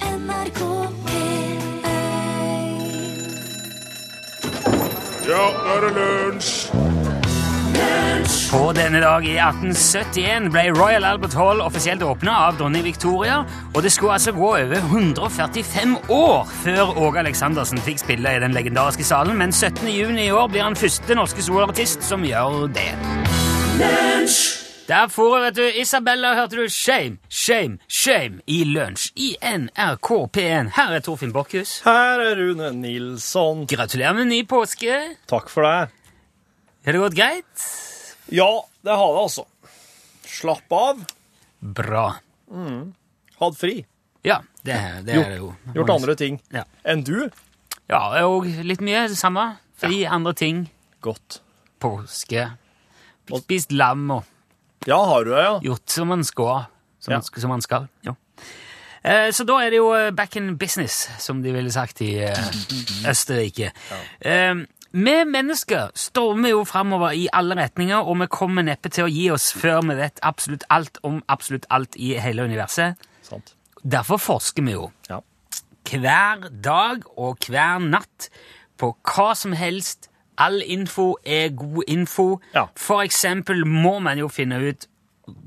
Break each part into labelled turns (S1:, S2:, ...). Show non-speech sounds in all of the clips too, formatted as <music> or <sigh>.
S1: NRK P1
S2: Ja, nå er det lunsj!
S3: På denne dag i 1871 ble Royal Albert Hall offisielt åpna av dronning Victoria, og det skulle altså gå over 145 år før Åge Aleksandersen fikk spille i den legendariske salen, men 17. juni i år blir han første norske soloartist som gjør det. Der får jeg, vet du, Isabella, hørte du Shame, Shame, Shame i lunsj i NRK P1. Her er Torfinn Borkhus.
S4: Her er Rune Nilsson.
S3: Gratulerer med ny påske.
S4: Takk for det.
S3: Har det gått greit?
S4: Ja, det har det altså. Slapp av.
S3: Bra.
S4: Hatt fri.
S3: Ja, det, det er det jo.
S4: Gjort andre ting
S3: Ja.
S4: enn du.
S3: Ja, og litt mye det samme. Fri andre ting.
S4: Godt.
S3: Påske. Spist lam og
S4: Ja, har du det, ja?
S3: gjort som man skal. Som,
S4: Ja.
S3: man, sk- som man skal. Ja. Eh, Så da er det jo eh, back in business, som de ville sagt i eh, Østerrike. Eh, Vi mennesker stormer jo framover i alle retninger, og vi kommer neppe til å gi oss før vi vet absolutt alt om absolutt alt i hele universet.
S4: Sant.
S3: Derfor forsker vi jo.
S4: Ja.
S3: hver dag og hver natt på hva som helst. All info er god info.
S4: Ja.
S3: For eksempel må man jo finne ut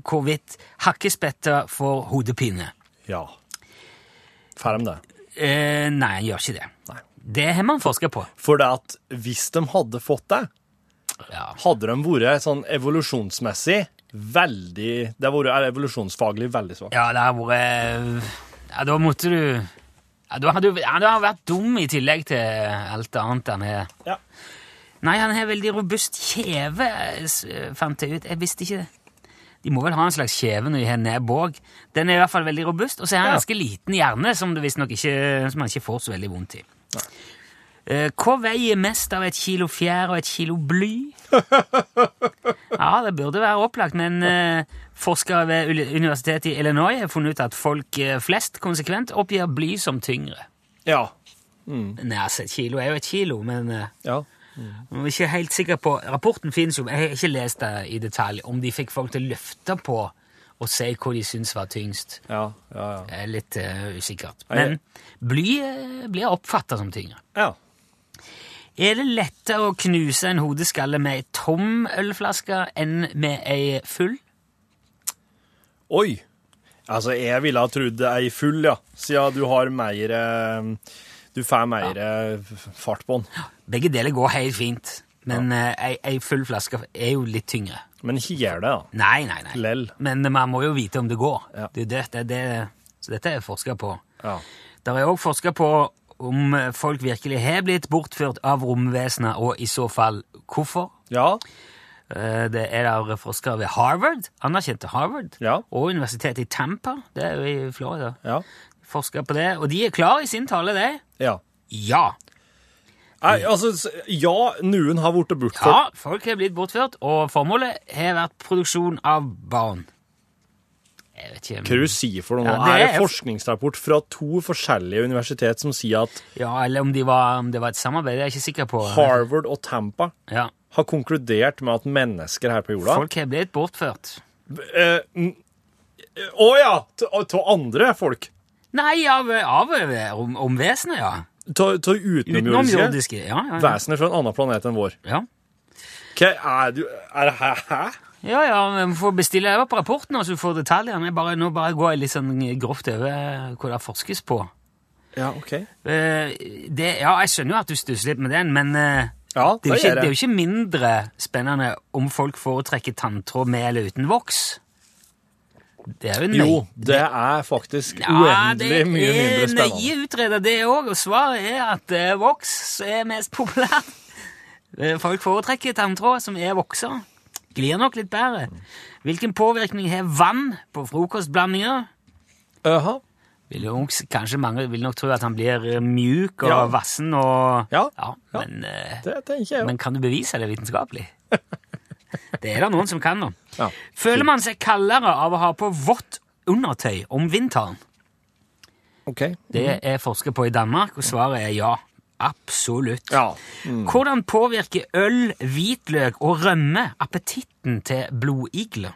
S3: hvorvidt hakkespetter får hodepine.
S4: ja. Ferdig med det.
S3: Eh, nei, han gjør ikke det.
S4: Nei.
S3: Det har man forska på.
S4: For det at hvis de hadde fått det,
S3: Ja.
S4: hadde de vært sånn evolusjonsmessig veldig Det hadde vært evolusjonsfaglig veldig svakt.
S3: Ja, det har vært Ja, da måtte du ja, da hadde, du- ja, da har vært dum i tillegg til alt det annet han har.
S4: Ja.
S3: Nei, han har veldig robust kjeve, s- fant jeg ut. Jeg visste ikke det. De må vel ha en slags kjeve når de har nebb òg. Den er i hvert fall veldig robust, og så har han
S4: Ja.
S3: ganske liten hjerne, som, du visstnok ikke, som han ikke får så veldig vondt i. Eh, Hva veier mest av et kilo fjær og et kilo bly? Ja, det burde være opplagt, men eh, forskere ved uli- Universitetet i Illinois har funnet ut at folk eh, flest konsekvent oppgir bly som tyngre.
S4: Ja.
S3: Nei, altså, et kilo er jo et kilo, men eh,
S4: ja.
S3: jeg er ikke helt sikker på Rapporten finnes jo, men jeg har ikke lest det i detalj, om de fikk folk til å løfte på og si hva de syns var tyngst.
S4: Ja, ja, ja.
S3: Det er litt eh, usikkert.
S4: Ja,
S3: Men
S4: jeg-
S3: bly eh, blir oppfatta som tyngre.
S4: ja.
S3: Er det lettere å knuse en hodeskalle med ei tom ølflaske enn med ei full?
S4: Oi! Altså, jeg ville ha trodd det er full, ja. Siden du har mer eh, Du får mer eh, fart på den.
S3: Begge deler går helt fint, men eh, ei, ei full flaske er jo litt tyngre.
S4: Men gjør det, da.
S3: Nei, nei, nei.
S4: Lell.
S3: Men man må jo vite om det går.
S4: Ja.
S3: Det, er det, det, er det, så dette er forska på.
S4: Ja.
S3: Der er òg forska på om folk virkelig har blitt bortført av romvesener, og i så fall hvorfor.
S4: Ja.
S3: Eh, Det er der forskere ved Harvard, anerkjente Harvard,
S4: Ja.
S3: og universitetet i Tampa, det er jo i Florida,
S4: Ja.
S3: forsker på det. Og de er klare i sin tale, de.
S4: ja.
S3: Ja.
S4: Nei, altså, s- ja, noen har blitt bortført.
S3: Mm. Ja, folk har blitt bortført, og formålet har vært produksjon av barn. Jeg vet ikke om-
S4: Hva du sier for noe?
S3: Ja,
S4: nå?
S3: det
S4: er det
S3: er-
S4: forskningsrapport fra to forskjellige universitet som sier at
S3: Ja, Eller om, de var, om det var et samarbeid, det er jeg ikke sikker på.
S4: Harvard og Tampa
S3: Ja.
S4: har konkludert med at mennesker her på jorda
S3: Folk har blitt bortført.
S4: Eh, mm, Å ja! Av andre folk.
S3: Nei, av, av om, om vesenet, ja.
S4: Av utenomjordiske.
S3: Utenomjordiske. Ja, ja, ja.
S4: Vesener fra en annen planet enn vår.
S3: ja.
S4: Hva er du Er det hæ? hæ?
S3: Ja, ja, vi får bestille over på rapporten, og så får du detaljene. Jeg Bare, nå bare går jeg litt sånn grovt over eh, hva det forskes på.
S4: Ja, OK.
S3: Eh, Det, ja, jeg skjønner jo at du stusser litt med den, men eh,
S4: Ja,
S3: det er, jo
S4: det
S3: ikke,
S4: gjør
S3: det er jo
S4: jeg.
S3: ikke mindre spennende om folk foretrekker tanntråd med eller uten voks. Det er jo nøy.
S4: Jo, det er faktisk
S3: Ja, det
S4: uendelig mye mindre
S3: er
S4: spennende.
S3: nøye utreda, det òg, og svaret er at eh, voks er mest populært. <laughs> Eh, Folk foretrekker tanntråd som er vokser. Glir nok litt bedre. Hvilken påvirkning har vann på frokostblandinger?
S4: Aha.
S3: Vil jo, kanskje mange vil nok tro at han blir eh, mjuk og
S4: Ja.
S3: vassen og
S4: Ja, ja.
S3: Men, eh,
S4: Det tenker jeg jo.
S3: men kan du bevise det vitenskapelig?
S4: <laughs>
S3: Det er det noen som kan, da.
S4: Ja.
S3: Føler man seg kaldere av å ha på vått undertøy om vinteren?
S4: OK. Mhm.
S3: Det er forsker på i Danmark, og svaret er ja. Absolutt.
S4: Ja. Mm.
S3: Hvordan påvirker øl, hvitløk og rømme appetitten til blodigler?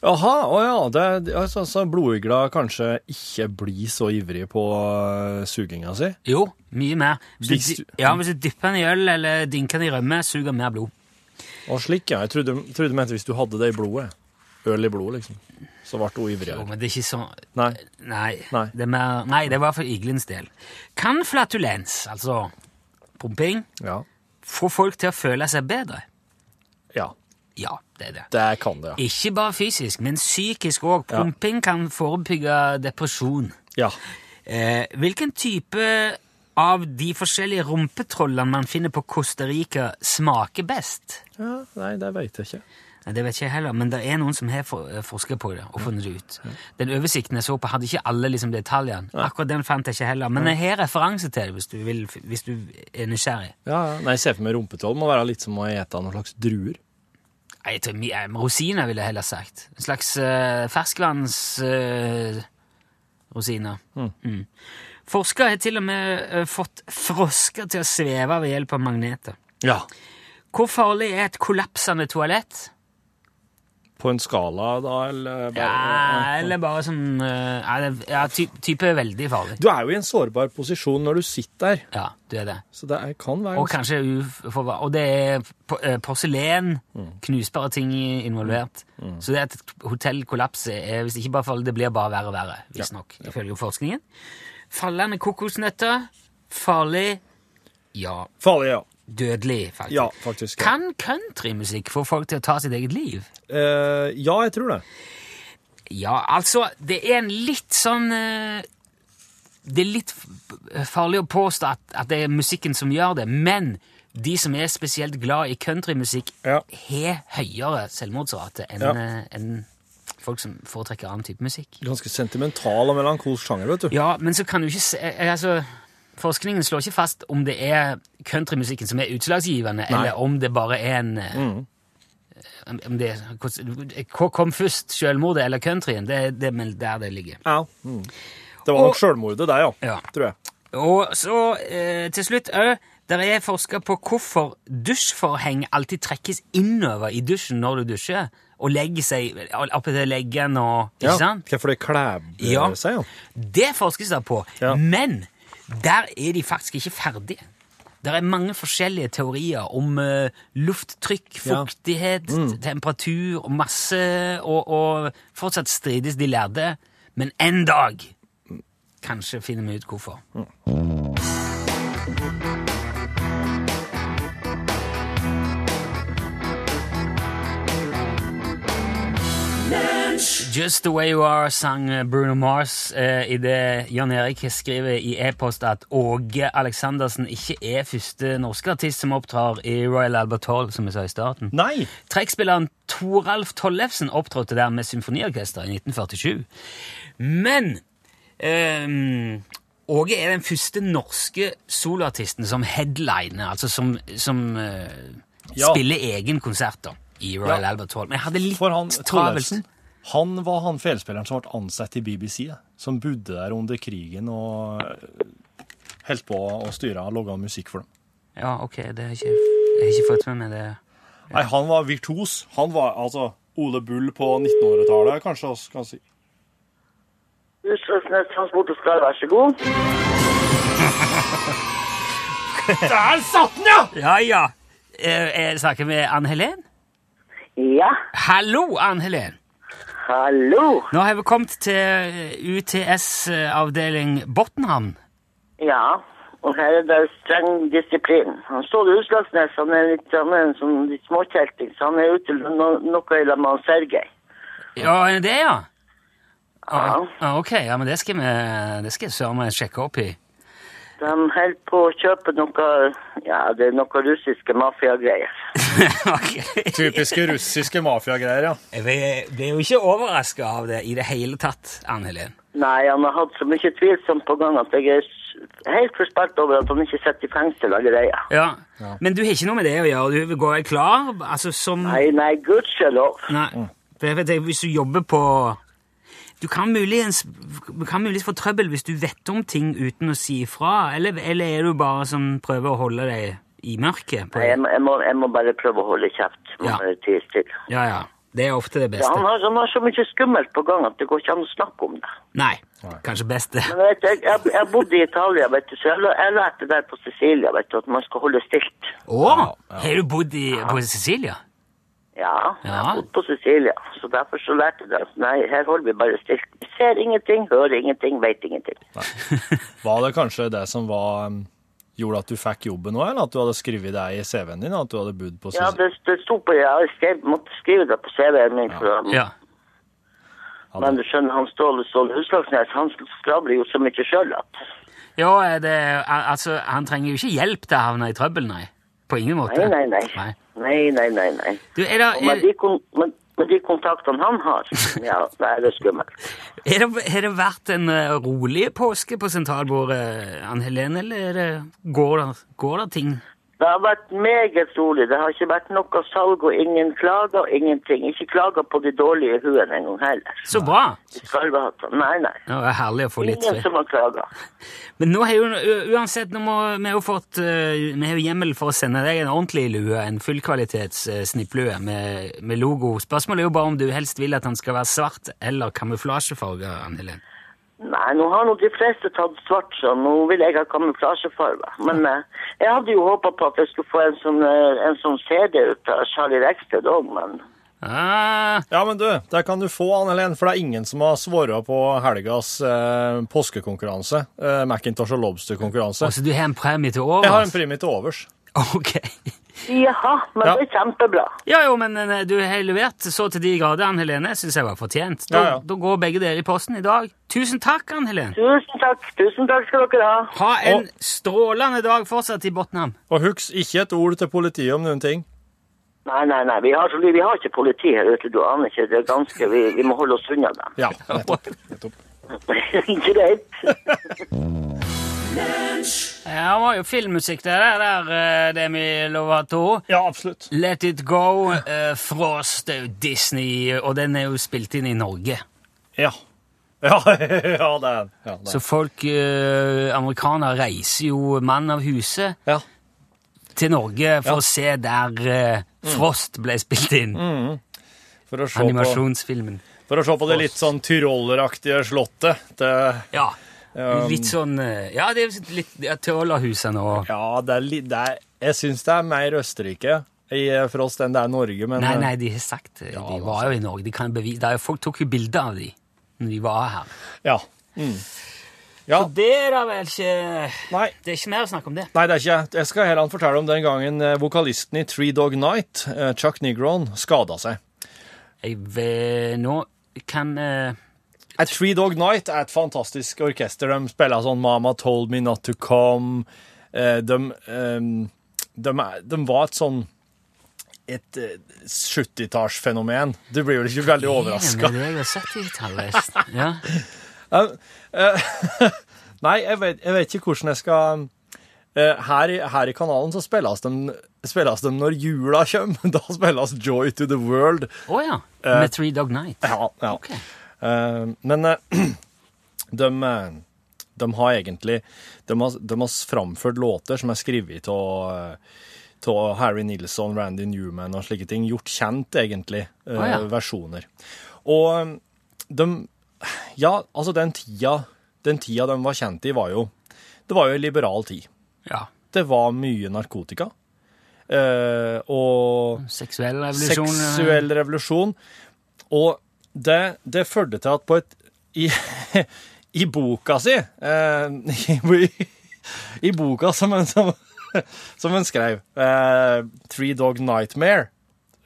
S4: Jaha, å ja. Det, det- altså, så blodigler kanskje ikke blir så ivrig på eh, suginga si?
S3: Jo, mye mer. Hvis
S4: Hvis
S3: du,
S4: du- Mm.
S3: dy- ja, hvis du dypper den i øl eller dynker den i rømme, suger den mer blod.
S4: Og slik, ja. Jeg trodde, trodde du mente hvis du hadde det i blodet. Øl i blodet, liksom. Så ble hun
S3: Jo,
S4: ivrigere.
S3: men det er ikke sånn
S4: Nei.
S3: Nei.
S4: Nei.
S3: Det, er mer, nei, det var for iglens del. Kan flatulens, altså pumping,
S4: Ja.
S3: få folk til å føle seg bedre?
S4: ja.
S3: Ja, det er det.
S4: Det kan det,
S3: Ikke bare fysisk, men psykisk òg. Pumping kan forebygge depresjon.
S4: ja. Ja.
S3: Eh, hvilken type av de forskjellige rumpetrollene man finner på Costa Rica, smaker best?
S4: ja nei, det veit jeg ikke.
S3: Nei, Det vet ikke jeg heller, men det er noen som har for, eh, forsket på det og funnet det ut. Den oversikten jeg så på, hadde ikke alle liksom, detaljene. Akkurat den fant jeg ikke heller. Men jeg har referanse til det, hvis du, vil, hvis du er nysgjerrig.
S4: Ja, ja. Nei, jeg ser for meg rumpetroll må være litt som å ete noen slags druer.
S3: Nei, jeg tror, mi- eh, rosiner, ville jeg heller sagt. En slags eh, uh, ferskvannsrosiner.
S4: Mm.
S3: Forskere har til og med eh, fått frosker til å sveve ved hjelp av magneter.
S4: Ja.
S3: Hvor farlig er et kollapsende toalett?
S4: På en skala, da, eller
S3: Ja, eller bare sånn eh, Ja, det- ja ty type er veldig farlig.
S4: Du er jo i en sårbar posisjon når du sitter der,
S3: Ja, du er det.
S4: så det er, kan være
S3: Og kanskje uforvar... Og det er po- eh, porselen, knusbare ting i- involvert. Så det at et hotell kollapser, er hvis ikke bare farlig, det blir bare verre og verre, visstnok, ifølge forskningen. Fallende kokosnøtter, farlig Ja,
S4: Farlig, ja.
S3: dødelig, faktisk.
S4: Ja, faktisk. Ja.
S3: Kan countrymusikk få folk til å ta sitt eget liv?
S4: Eh, ja, jeg tror det.
S3: Ja, altså, det er en litt sånn eh, Det er litt f- farlig å påstå at, at det er musikken som gjør det, men de som er spesielt glad i countrymusikk,
S4: Ja.
S3: har høyere selvmordsrate enn
S4: Ja.
S3: eh, enn folk som foretrekker annen type musikk.
S4: Ganske sentimental og melankolsk sjanger, vet du.
S3: Ja, men så kan du ikke se eh, altså, Forskningen slår ikke fast om det er countrymusikken som er utslagsgivende, eller om det bare er en eh,
S4: Mm.
S3: om- om det, Hva kom først, selvmordet eller countryen? Det det er vel der det ligger.
S4: Ja. Mm. Det var
S3: Og-
S4: nok sjølmordet der, ja.
S3: Ja.
S4: Tror jeg.
S3: Og så eh, til slutt òg Der er forska på hvorfor dusjforheng alltid trekkes innover i dusjen når du dusjer, og legger seg opp til leggen og Ikke
S4: Ja.
S3: sant?
S4: Hvorfor det klæber
S3: Ja.
S4: seg, ja.
S3: Det forskes det på,
S4: Ja.
S3: men der er de faktisk ikke ferdige. Det er mange forskjellige teorier om eh, lufttrykk,
S4: Ja. Mm.
S3: fuktighet, temperatur og masse, og, og fortsatt strides de lærde. Men en dag kanskje finner vi ut hvorfor. Just the way you are, sang eh, Bruno Mars eh, i det Jan Erik skriver i e-post at Åge Aleksandersen ikke er første norske artist som opptrer i Royal Albert Hall, som vi sa i starten.
S4: Nei!
S3: Trekkspilleren Toralf Tollefsen opptrådte der med symfoniorkester i 1947. Men ehm, Åge er den første norske soloartisten som headliner, altså som, som eh,
S4: Ja.
S3: spiller egen konsert da, i Royal
S4: Ja.
S3: Albert Hall. Men jeg hadde
S4: For han
S3: litt
S4: Tollefsen,
S3: travelt.
S4: han var han felspilleren som ble ansatt i BBC, da. som bodde der under krigen og eh, holdt på å styre og laga musikk for dem.
S3: Ja, ok, det har jeg ikke, jeg har ikke fått med meg det.
S4: Nei, han var virtuos. Han var altså Ole Bull på 1900-tallet, kanskje vi kan si.
S1: Utslagsnes Transport og Skar, vær så god.
S4: Der satt den, ja!
S3: Ja, ja. Eh, Jeg snakker med Ann-Helen.
S1: Ja,
S3: Hallo, Ann-Helen.
S1: hallo.
S3: Nå har vi kommet til eh, UTS-avdeling Botnhamn.
S1: Ja, og her er det streng disiplin. Han står i Utslagsnes, han er litt, han er en sånn litt småkjelting, så han er ute no noe i lag med han Sergej.
S3: Ja, er det det, ja?
S1: Ja.
S3: Ah, ok, ja, men det skal, vi, det skal jeg søren meg sjekke opp i. <laughs>
S1: De holder på å kjøpe noe, ja, det er noe russiske mafiagreier.
S3: ok.
S4: Typiske russiske mafiagreier, ja.
S3: Jeg ble- ble jo ikke overraska av det i det hele tatt, Ann-Helen.
S1: Nei, han har hatt så mye tvilsomt på gang at jeg er s- helt forspart over at han ikke sitter i fengsel allerede.
S3: Ja. Men du har ikke noe med det å gjøre? Du går jeg klar? Altså som
S1: Nei, Mm. nei, gudskjelov.
S3: Nei. For jeg vet, jeg, hvis du jobber på Du kan muligens, du kan muligens få trøbbel hvis du vet om ting uten å si ifra, eller, eller er du bare som prøver å holde deg i mørket? På,
S1: Nei, jeg, må- jeg, må, jeg må bare prøve å holde kjeft. Må
S3: Ja.
S1: bare tie stille.
S3: ja, ja. Det er ofte det
S1: Ja,
S3: beste.
S1: han, har, han har så mye skummelt på gang at det går ikke an å snakke om det.
S3: Nei, kanskje beste.
S1: Men vet, du, jeg, jeg, jeg bodde i Italia, vet du, så jeg, læ- jeg lærte der på Sicilia vet du, at man skal holde stilt.
S3: Å, har du bodd i, på Sicilia?
S1: Ja, jeg
S3: Ja.
S1: har bodd på Sicilia, så derfor så lærte jeg det. at Nei, her holder vi bare stilt. Vi ser ingenting, hører ingenting, vet ingenting.
S4: Var det kanskje det som var, um, gjorde at du fikk jobben òg, eller at du hadde skrevet det i CV-en din, at du hadde bodd på
S1: Ja,
S4: Sicil-
S1: det, det sto på, jeg skrev, måtte skrive det på CV-en min, for, å-
S3: Ja.
S4: Ja,
S1: men
S4: det-
S1: du skjønner, han Ståle Ståle Huslagsnes, han skravler jo så mye sjøl at
S3: Jo, er det, al- altså, han trenger jo ikke hjelp til å havne i trøbbel, nei. På ingen måte.
S1: Nei, nei, nei. Nei, nei, nei, nei.
S3: Du, er det,
S1: Og
S3: er,
S1: med de, kon med, med de kontaktene han har, ja, da er det skummelt.
S3: Er det, har det vært en eh, rolig påske på sentralbordet, Ann Helene, eller er det, går, det, går det ting?
S1: Det har vært meget rolig. Det har ikke vært noe salg og ingen klager og ingenting. Ikke klager på de dårlige huene engang heller.
S3: Så bra!
S1: De skarvehattene. Nei, nei.
S3: Ja, Det er herlig å få litt
S1: Ingen
S3: fri.
S1: som har klaga.
S3: Men nå har jo u- uansett, nå må, vi har jo fått eh, vi har jo hjemmel for å sende deg en ordentlig lue, en fullkvalitets eh, snipplue med, med logo. Spørsmålet er jo bare om du helst vil at den skal være svart eller kamuflasjefarga, Ann Helene.
S1: Nei, nå har nå de fleste tatt svart, så nå vil jeg ha kamuflasjefarge. Men eh, jeg hadde jo håpa på at jeg skulle få en sånn, eh, en sånn CD ut av Charlie Rexted òg, men
S3: Ah,
S4: Ja, men du, det kan du få, Anne Helen, for det er ingen som har svåra på helgas eh, påskekonkurranse. Eh, Macintosh og Lobster-konkurranse.
S3: altså, du har en premie til
S4: Jeg har en
S3: overs? <laughs>
S4: premie til overs.
S3: Ok.
S1: jaha, men
S4: Ja.
S1: det er kjempebra.
S3: Ja, jo, men eh, du har levert så til de grader, Ann Helene. Syns jeg var fortjent. Da,
S4: Ja, ja.
S3: da går begge dere i posten i dag. Tusen takk, Ann Helene.
S1: Tusen takk. Tusen takk skal dere ha.
S3: Ha en
S4: Og-
S3: strålende dag fortsatt i Botnam.
S4: Og husk ikke et ord til politiet om noen ting.
S1: Nei, nei, nei. Vi har, vi har ikke politi her ute, du aner ikke. Det er ganske, vi, vi må holde oss unna dem. <laughs>
S3: <laughs>
S4: Ja, nettopp. nettopp.
S1: Greit.
S3: Ja, det var jo filmmusikk, det der, der eh, Demi Lovato.
S4: Ja, absolutt.
S3: Let It Go, eh, Frost, det er jo Disney, og den er jo spilt inn i Norge.
S4: Ja. <laughs> Ja, ja, det er den. Ja, det er.
S3: Så folk, eh, amerikanere, reiser jo mann av huset
S4: den. ja.
S3: til Norge for å se der eh, Frost ble spilt inn.
S4: For, å se på,
S3: Animasjonsfilmen.
S4: for å se på det litt sånn tyrolleraktige slottet. Det,
S3: Ja.
S4: um,
S3: Litt sånn eh, Ja, det er litt ja, Tølerhusene og
S4: ja, det er litt det er, Jeg syns det er mer Østerrike i Frost enn det er Norge, men
S3: Nei, nei, de har sagt det. De var jo i Norge. De kan bevise det. er jo- Folk tok jo bilder av de når de var her.
S4: Ja. Mm. ja.
S3: Og det er da vel ikke
S4: Nei.
S3: Det er ikke mer å snakke om det.
S4: Nei, det er ikke jeg. Jeg skal heller fortelle om den gangen eh, vokalisten i Three Dog Night, eh, Chuck Negron, skada seg.
S3: Jeg vet, nå kan eh,
S4: Eh, Three Dog Night er et fantastisk orkester. De spiller sånn Mama Told Me Not To Come. Eh, De, ehm, de, er- de var et sånn et eh, 70-tallsfenomen. Du blir vel ikke veldig overraska.
S3: Ja, men det er jo 70-tallet. Ja.
S4: Nei, jeg vet, jeg vet ikke hvordan jeg skal eh, her, i- her i kanalen så spilles de, spilles de når jula kommer. <laughs> Da spilles Joy to the World.
S3: Å
S4: <laughs>
S3: ja. Med Three Dog Night.
S4: Ja, ja.
S3: Ok.
S4: Eh, men eh, <clears throat> de, eh, de har egentlig de har, de har framført låter som er skrevet av eh, av Harry Nilsson, Randy Newman og slike ting. Gjort kjent, egentlig, eh,
S3: Å, ja.
S4: versjoner. Og eh, de Ja, altså, den tida, den tida de var kjent i, var jo Det var jo en liberal tid.
S3: Ja.
S4: Det var mye narkotika. eh, og
S3: Seksuell revolusjon. eh,
S4: Seksuell revolusjon. Og det, det førte til at på et I, <laughs> i boka si eh, <laughs> i, I boka som en, som, som en skrev, eh, 'Three Dog Nightmare',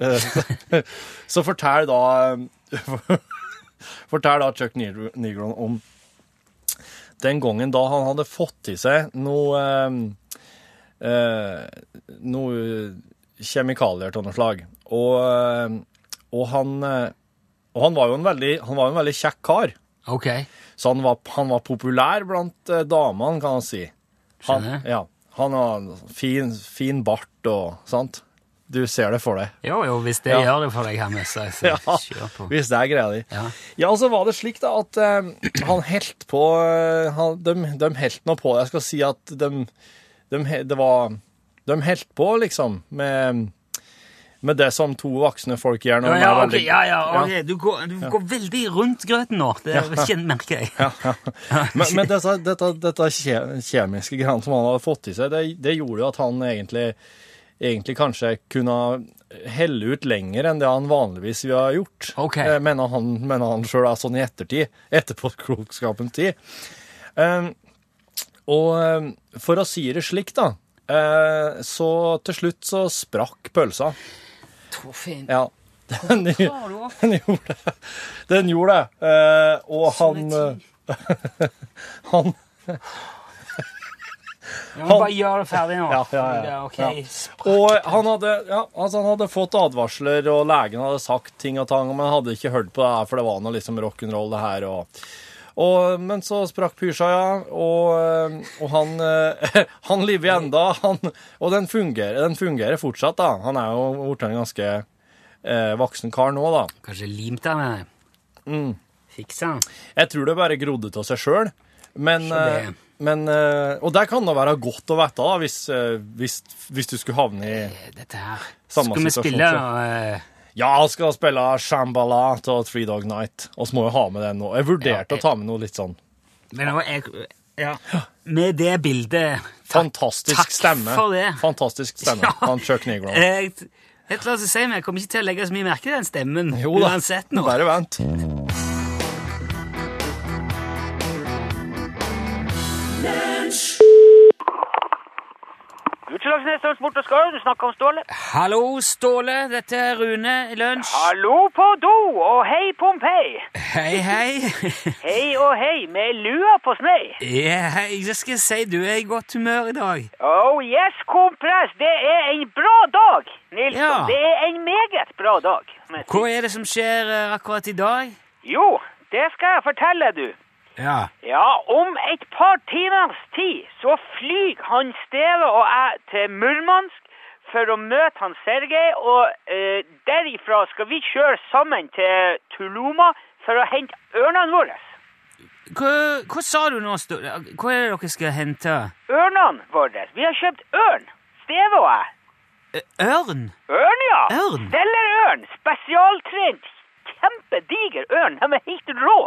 S4: eh, <laughs> så forteller da <laughs> Forteller da Chuck Neg- Negron om den gangen da han hadde fått i seg noe eh, eh, noe kjemikalier av noe slag. Og, eh, og, han, og han var jo en veldig, han var jo en veldig kjekk kar.
S3: eh, Ok.
S4: Så han var, han var populær blant eh, damene, kan man si. Han,
S3: Skjønner.
S4: ja, han har en fin, fin bart og sant. Du ser det for deg.
S3: Jo, jo, hvis det
S4: Ja.
S3: gjør det for deg her med seg,
S4: <laughs>
S3: så kjør på.
S4: Hvis det er greia di.
S3: Ja.
S4: Ja, og så var det slik da at eh, han helt på eh, han, De, de helt nå på Jeg skal si at de, de, he- det var, de helt på, liksom, med med det som to voksne folk gjør når
S3: Ja,
S4: de
S3: ja,
S4: er
S3: ok,
S4: veldig
S3: ja, ja, ok. Du, går, du går veldig rundt grøten nå. Det kjenner, merker jeg.
S4: Men, men dette, dette, dette kje- kjemiske greiene som han hadde fått i seg, det, det gjorde jo at han egentlig, egentlig kanskje kunne helle ut lenger enn det han vanligvis ville ha gjort.
S3: Ok.
S4: Eh, Mener han, mener han sjøl er sånn i ettertid. <laughs> Etterpåklokskapens tid. Eh, og eh, for å si det slik, da, eh, så til slutt så sprakk pølsa.
S3: <laughs> Torfinn,
S4: Ja. <laughs> Den,
S3: hva har du opp?
S4: den gjorde det. Den gjorde det. Eh, og han
S3: Sånn er
S4: eh, Han
S3: Jeg må bare gjøre det ferdig nå.
S4: Ja, ja, ja.
S3: ok.
S4: Ja. Og han hadde, ja, altså han hadde fått advarsler, og legen hadde sagt ting og tang, men han hadde ikke hørt på det her, for det var noe liksom rock'n'roll, det her. Og, og, men så sprakk pysja, ja, og, og han, eh, <laughs> han lever enda, han, og den fungerer, den fungerer fortsatt, da. Han er jo blitt en ganske eh, voksen kar nå, da.
S3: Kanskje limt den med deg.
S4: Mm.
S3: Fiksa den.
S4: Jeg tror det bare grodde av seg sjøl. Men,
S3: det.
S4: eh, men eh, Og det kan da være godt å vite da, hvis, eh, hvis, hvis du skulle havne i
S3: Eh, Dette her.
S4: Samme
S3: Skal vi
S4: situasjon,
S3: spille
S4: så.
S3: nå? eh,
S4: Ja, jeg skal spille Shambhala til Three Dog Night. Og så må jeg ha med den nå. Jeg vurderte
S3: Ja, ok.
S4: å ta med noe litt sånn
S3: Men nå, jeg, ja. Med det bildet
S4: fantastisk
S3: takk
S4: stemme.
S3: for det.
S4: Fantastisk stemme.
S3: Ja.
S4: Han Chuck Negron.
S3: <laughs> jeg, Helt klart å si, men jeg kommer ikke til å legge så mye merke til den stemmen
S4: Jo da.
S3: uansett nå.
S4: Bare vent.
S2: Utslagsnes Transport og Skau, du snakker om Ståle.
S3: Hallo, Ståle. Dette er Rune i lunsj.
S2: Hallo på do, og hei Pompeii.
S3: Hei, hei.
S2: Hei og hei, med lua på snei.
S3: Ja, hei, jeg skal si du er i godt humør i dag.
S2: Oh yes, kompress, det er en bra dag, Nilsson.
S3: Ja.
S2: Det er en meget bra dag. Men,
S3: Hva er det som skjer eh, akkurat i dag?
S2: jo, det skal jeg fortelle, du.
S3: Ja.
S2: Ja, om et par timers tid så flyr han Steve og jeg til Murmansk for å møte han Sergej, og eh, derifra skal vi kjøre sammen til Tuluma for å hente ørnene våre.
S3: Hva, hva sa du nå, Ståle? Hva er det dere skal hente?
S2: Ørnene våre. Vi har kjøpt ørn, Steve og jeg.
S3: Eh, Ørn?
S2: Ørn, ja.
S3: Ørn?
S2: Stellerørn. Spesialtrent. Kjempediger ørn. De er helt rå.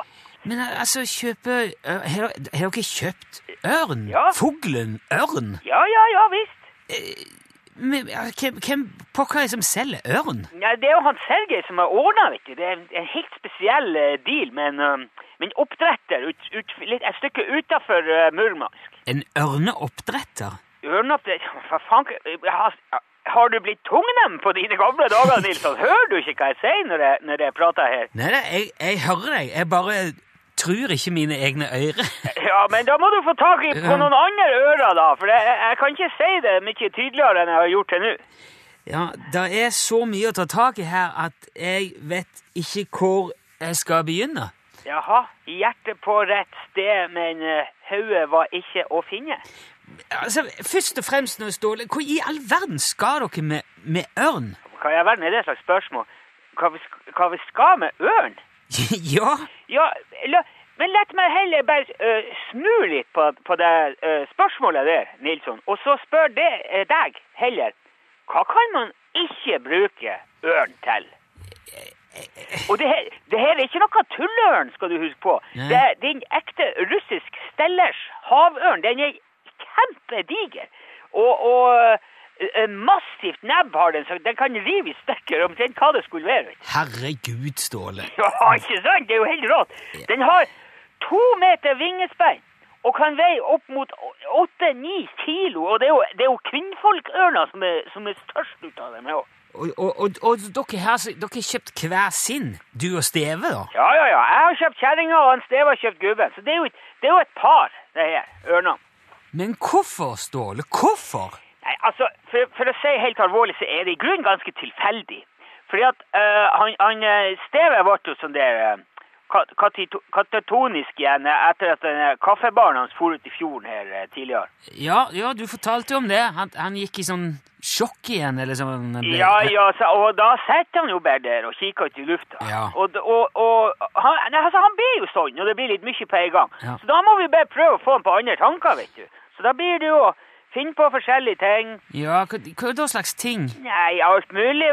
S3: Men eh, altså, kjøpe eh, Har dere- har dere kjøpt ørn?
S2: Ja.
S3: Fuglen ørn?
S2: Ja, ja, ja visst.
S3: Men, ja, Hvem, hvem pokker er det som selger ørn?
S2: Nei, det er jo han Sergej som har ordna, vet du. Det er en, en helt spesiell eh, deal med en, eh, med en oppdretter ut, ut, litt, et stykke utafor Murmansk.
S3: En ørneoppdretter?
S2: Ørneoppdretter <laughs> Hva faen eh, har, har du blitt tungnem på dine gamle dager, Nilsson? Hører du ikke hva jeg sier når jeg, når jeg prater her?
S3: Nei, nei, jeg, jeg hører deg. Jeg bare tror ikke mine egne <laughs> ører.
S2: Ja, men da må du få tak i på noen andre ører, da. For jeg, jeg kan ikke si det mye tydeligere enn jeg har gjort til nå.
S3: Ja, det er så mye å ta tak i her at jeg vet ikke hvor jeg skal begynne.
S2: Jaha, hjertet på rett sted, men eh, hodet var ikke å finne.
S3: Altså, Først og fremst, nå, Ståle, hvor i all verden skal dere med, med ørn? <laughs>
S2: Hva i all verden er det slags spørsmål? Hva vi, sk- hva vi skal med ørn?
S3: ja,
S2: Ja, la, men lett meg heller bare eh, snu litt på, på det eh, spørsmålet der, Nilsson. Og så spør det eh, deg heller. Hva kan man ikke bruke ørn til? Og det her, det her er ikke noe tulleørn, skal du huske på.
S3: Nei.
S2: Det er din ekte russisk stellers havørn. Den er kjempediger. Og, og eh, massivt nebb har den, så den kan rive i stykker omtrent hva det skulle være. vet du.
S3: herregud, Ståle.
S2: <laughs> Ja, ikke sant? Det er jo helt rått. Den har to meter vingespenn og kan veie opp mot åtte-ni kilo. Og det er jo, det er jo kvinnfolkørna som er, som er størst ut av dem. ja.
S3: Og, og, og, og dere her, så- dere har kjøpt hver sin, du og Steve, da?
S2: Ja, ja, ja. Jeg har kjøpt kjerringa, og han Steve har kjøpt gubben. Så det er jo, et- det er jo et par, det her, ørna.
S3: Men hvorfor, Ståle? Hvorfor?
S2: Nei, altså, for, for å si helt alvorlig, så er det i grunnen ganske tilfeldig. Fordi at eh, han, han eh, Steve ble jo sånn der eh, kat katito- katatonisk igjen eh, etter at denne kaffebaren hans for ut i fjorden her eh, tidligere.
S3: Ja, ja, du fortalte jo om det. Han, han gikk i sånn sjokk igjen, eller sånn.
S2: Ja, ja, så, og da sitter han jo bare der og kikker ut i lufta.
S3: Ja.
S2: Og, d- og, og han, nei, altså, han blir jo sånn, og det blir litt mye på en gang.
S3: Ja.
S2: Så da må vi bare prøve å få han på andre tanker, vet du. Så da blir det jo Finn på forskjellige ting.
S3: Ja, hva, hva da slags ting?
S2: Nei, alt mulig.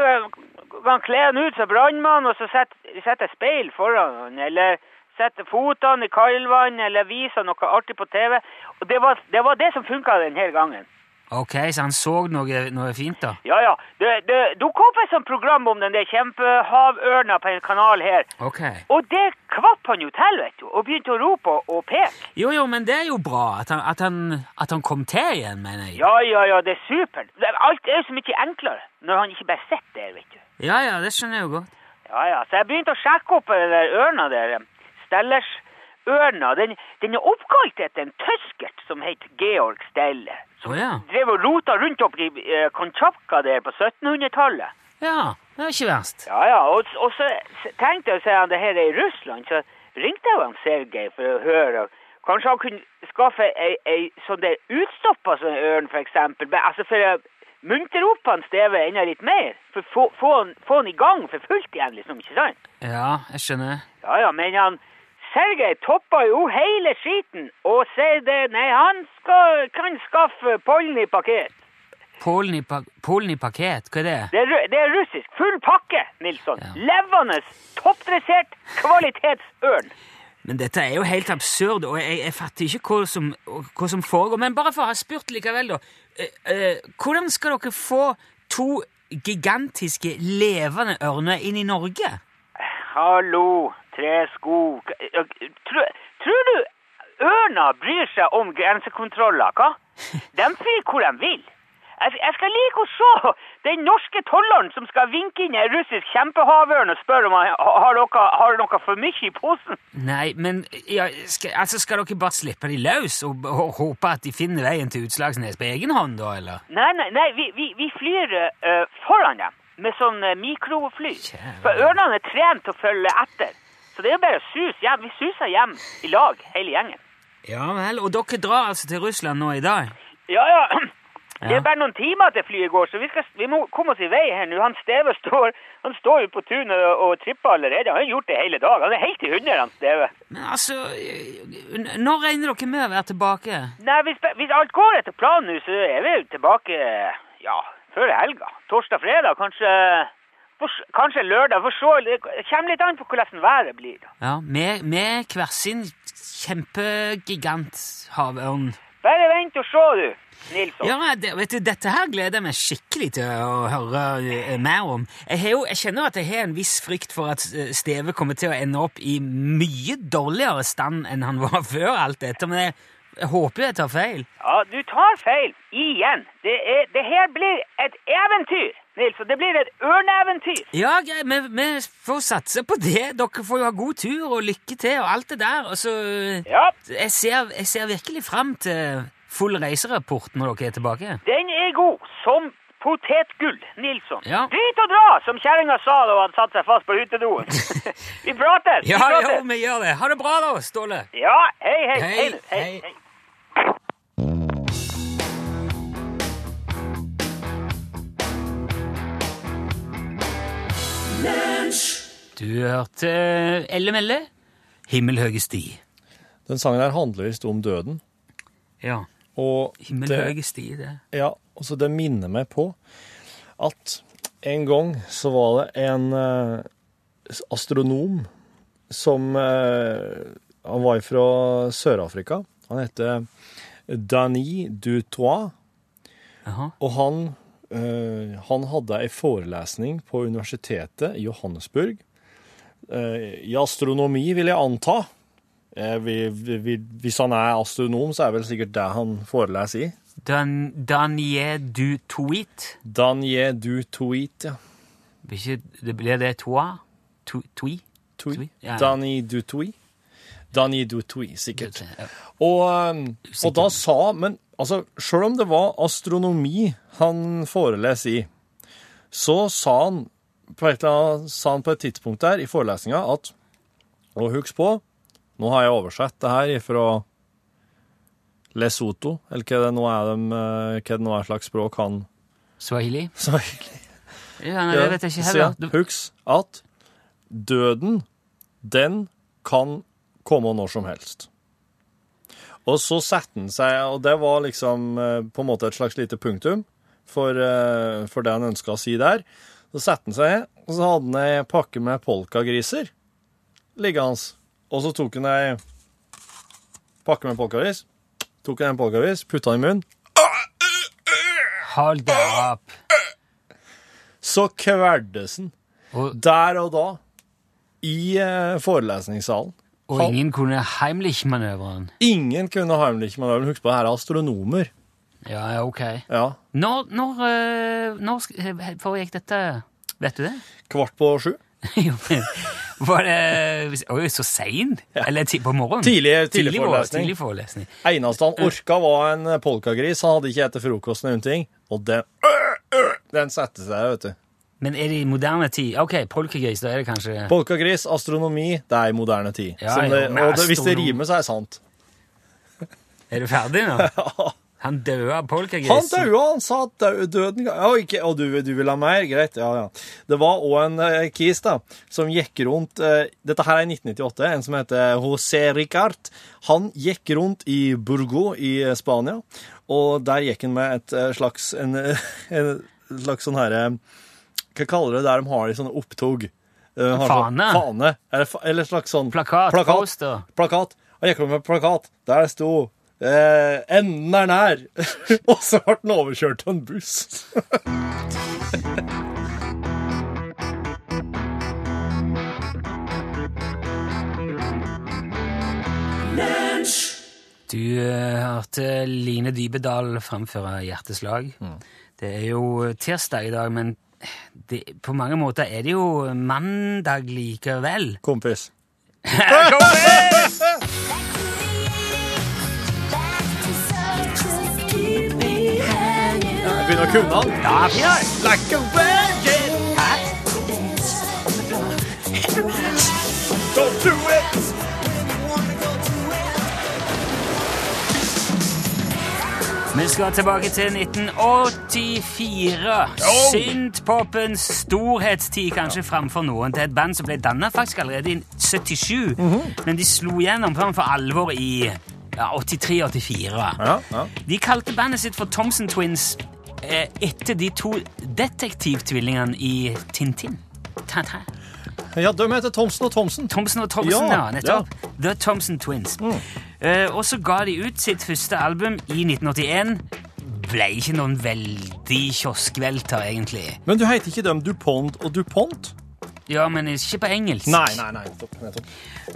S2: Man kler han ut som brannmann, og så setter sette speil foran han, eller setter fotene i kaldvann, eller viser noe artig på TV. Og det var det, var det som funka denne gangen.
S3: Ok, så han så noe, noe fint, da?
S2: Ja, ja. Det, det dukka opp et sånt program om den der kjempehavørna på en kanal her.
S3: Ok.
S2: Og det kvapp han jo til, vet du, og begynte å rope og, og peke.
S3: Jo, jo, men det er jo bra at han, at han, at han kom til igjen, mener jeg.
S2: Ja, ja, ja, det er supert. Det- Alt er jo så mye enklere når han ikke bare sitter der, vet du.
S3: Ja, ja, det skjønner jeg jo godt.
S2: Ja, ja. Så jeg begynte å sjekke opp den der ørna der. eh, Stellersørna. Den, den er oppkalt etter en tyskert som het Georg Stelle.
S3: Å ja.
S2: Drev og rota rundt opp i eh, Kamtsjatka der på 1700-tallet.
S3: Ja, det er ikke verst.
S2: Ja, ja. Og, og så s- tenkte jeg at det her er i Russland, så ringte jeg jo han Sergej for å høre. Kanskje han kunne skaffe ei, ei sånn der utstoppa sånn ørn, for eksempel. Men, altså for å muntre opp han Steve enda litt mer. For få, få, han, få han i gang for fullt igjen, liksom. Ikke sant?
S3: Ja, jeg skjønner.
S2: Ja, ja, men han Sergej topper jo hele skiten og sier det Nei, han skal, kan skaffe pollen i pakket.
S3: Polen i, pa Polen i pakket, hva er det?
S2: Det er, ru- det er russisk. Full pakke, Nilsson. Levende, toppdressert kvalitetsørn.
S3: Men dette er jo helt absurd, og jeg, jeg fatter ikke hva som, hva som foregår. Men bare for å ha spurt likevel, da. eh, eh, hvordan skal dere få to gigantiske, levende ørner inn i Norge?
S2: Hallo, tresko K- ja, tro- Tror du ørna bryr seg om grensekontroller, hva? De flyr hvor de vil. Jeg, jeg skal like å se den norske tolleren som skal vinke inn en russisk kjempehavørn og spørre om han har noe, har noe for mye i posen.
S3: Nei, men ja, skal, altså, skal dere bare slippe de løs og, og håpe at de finner veien til Utslagsnes på egen hånd, da, eller?
S2: Nei, nei, nei vi, vi, vi flyr eh, foran dem med sånn eh, mikrofly.
S3: Kjære.
S2: For ørnene er trent til å følge etter. Så det er jo bare å suse hjem. Vi suser hjem i lag, hele gjengen.
S3: Ja vel, og dere drar altså til Russland nå i dag?
S2: Ja, ja. Det
S3: Ja.
S2: er bare noen timer til flyet går, så vi, skal, vi må komme oss i vei her nå. Han Steve står, han står jo på tunet og, og tripper allerede. Han har gjort det hele dag. Han er helt i hundre, han Steve.
S3: Men altså, eh, n- når regner dere med å være tilbake?
S2: Nei, hvis, hvis alt går etter planen nå, så er vi jo tilbake, ja, før helga. Torsdag-fredag, kanskje, for- kanskje lørdag. For så, det kommer litt an på hvordan været blir. da.
S3: Ja, med, med hver sin kjempegigant havørn.
S2: Bare vent og se, du, Nilsson.
S3: Ja, det, vet du, Dette her gleder jeg meg skikkelig til å høre eh, mer om. Jeg, har jo, jeg kjenner at jeg har en viss frykt for at eh, Steve kommer til å ende opp i mye dårligere stand enn han <laughs> var før alt dette, men jeg, jeg håper jo jeg tar feil.
S2: Ja, du tar feil. Igjen. Det, er, det her blir et eventyr, Nilsson. Det blir et ørneeventyr.
S3: Ja, greit, vi, vi får satse på det. Dere får jo ha god tur og lykke til og alt det der. Og så eh,
S2: Ja.
S3: jeg ser, jeg ser virkelig fram til full reiserapport når dere er tilbake.
S2: Den er god som potetgull, Nilsson.
S3: Ja.
S2: Drit og dra, som kjerringa sa da hun hadde satt seg fast på
S3: <laughs>
S2: utedoen. vi prates!
S3: Ja, ja,
S2: vi prates.
S3: vi gjør det. Ha det bra, da, Ståle.
S2: ja hei, hei, hei,
S3: Hei,
S2: hei, hei,
S3: hei.
S2: hei.
S3: Du hørte Elle Melle, Himmelhøge sti.
S4: Den sangen her handler visst om døden.
S3: Ja,
S4: Og
S3: Himmelhøge sti, det.
S4: Ja, og så det minner meg på at en gang så var det en eh, astronom som eh, Han var fra Sør-Afrika. Han heter Dani Dutois,
S3: Jaha.
S4: og han, eh, han hadde ei forelesning på universitetet i Johannesburg eh, i astronomi, vil jeg anta. Eh, vi, vi, vi, hvis han er astronom, så er vel sikkert det han foreleser i.
S3: Dan, Danie du tweet.
S4: Danje du tweet, ja.
S3: Blir ikke- Det blir det toa? To, tui? Tui,
S4: Tui.
S3: ja.
S4: Dani du tui. Dani du tui, sikkert.
S3: Ja.
S4: Og, um, og da sa Men altså, sjøl om det var astronomi han foreleste i, så sa han på et, eller annet, sa han på et tidspunkt der i forelesninga at Og husk på, nå har jeg oversett det her fra Lesotho, eller hva det nå er, dem, eh, hva det nå er slags språk han
S3: Swahili?
S4: snakker.
S3: Ja, nei,
S4: Ja,
S3: det vet jeg ikke
S4: så ja,
S3: heller. Du-
S4: Husk at døden, den kan komme når som helst. Og så satte han seg, og det var liksom eh, på en måte et slags lite punktum for, eh, for det han ønska å si der. Så satte han seg, og så hadde han ei pakke med polkagriser liggende. Og så tok han ei pakke med polkagris, tok han en polkagris, putta den i munnen.
S3: Hold deg opp.
S4: Så kveldes han
S3: Og,
S4: der og da i eh, forelesningssalen.
S3: og ingen kunne Heimlich-manøveren.
S4: Ingen kunne Heimlich manøveren. Husk på, det her er astronomer.
S3: Ja, ja, ok.
S4: Ja.
S3: Når, når, eh, når sk- eh, foregikk dette? Vet du det? <laughs>
S4: Kvart på sju.
S3: Jo, men Var det Oi, så seint? Eller ti- på morgenen?
S4: Tidlig- tidlig
S3: vår-
S4: forelesning.
S3: Tidlig forelesning.
S4: Eneste han orka, var en eh, polkagris. Han hadde ikke spist frokost eller noen ting. Og den, øh, den satte seg, vet du.
S3: Men er det i moderne tid? Ok, polkegris, da er det kanskje
S4: Polkagris, astronomi, det er i moderne tid.
S3: Ja,
S4: Som det,
S3: ja, men
S4: og det, hvis det
S3: astronom-
S4: rimer, så er det sant.
S3: Er du ferdig
S4: <laughs>
S3: nå? Han døde av polkegris.
S4: Han daua, han sa at dau- døden ga- ja, ikke, Og du, du vil ha mer? Greit. Ja, ja. Det var òg en eh, kis da, som gikk rundt eh, Dette her er 1998. En som heter José Ricard. Han gikk rundt i Burgo i eh, Spania, og der gikk han med et eh, slags En, <laughs> eh, en slags sånn herre Hva kaller du det der de har i sånne opptog? Eh, har sånn-
S3: Fane.
S4: fane. Eller, fa- eller slags sånn
S3: Plakat,
S4: plakat.
S3: poster.
S4: Plakat. Og jeg kom med plakat. Der sto eh, 'Enden er nær'. <laughs> og så ble den overkjørt av en buss. <laughs>
S3: Du eh, hørte Line Dybedal fremføre Hjerteslag.
S4: Mm.
S3: Det er jo eh, tirsdag i dag, men det, på mange måter er det jo mandag likevel.
S4: Kompis. Jeg begynner å kunne den.
S3: Ja, Bjørn!
S4: Like a virgin. Go do it.
S3: Vi skal tilbake til 1984. Synthpopens storhetstid, kanskje framfor noen. Det er et band som ble danna faktisk allerede i 77, men de slo gjennom for, for alvor i ja, 83-84.
S4: Ja, ja.
S3: De kalte bandet sitt for Thompson Twins eh, etter de to detektivtvillingene i Tintin. Tintin.
S4: ja, de heter Thomsen og Thomsen.
S3: Thomsen og Thomsen, ja,
S4: Ja, Mm.
S3: nettopp. The Thompson Twins. Eh, og så ga de ut sitt første album i 1981. Ble ikke noen veldig kioskvelter, egentlig.
S4: Men du heter ikke dem DuPont og DuPont?
S3: Ja, men ikke på engelsk.
S4: Nei, nei, nei. Nettopp. nettopp.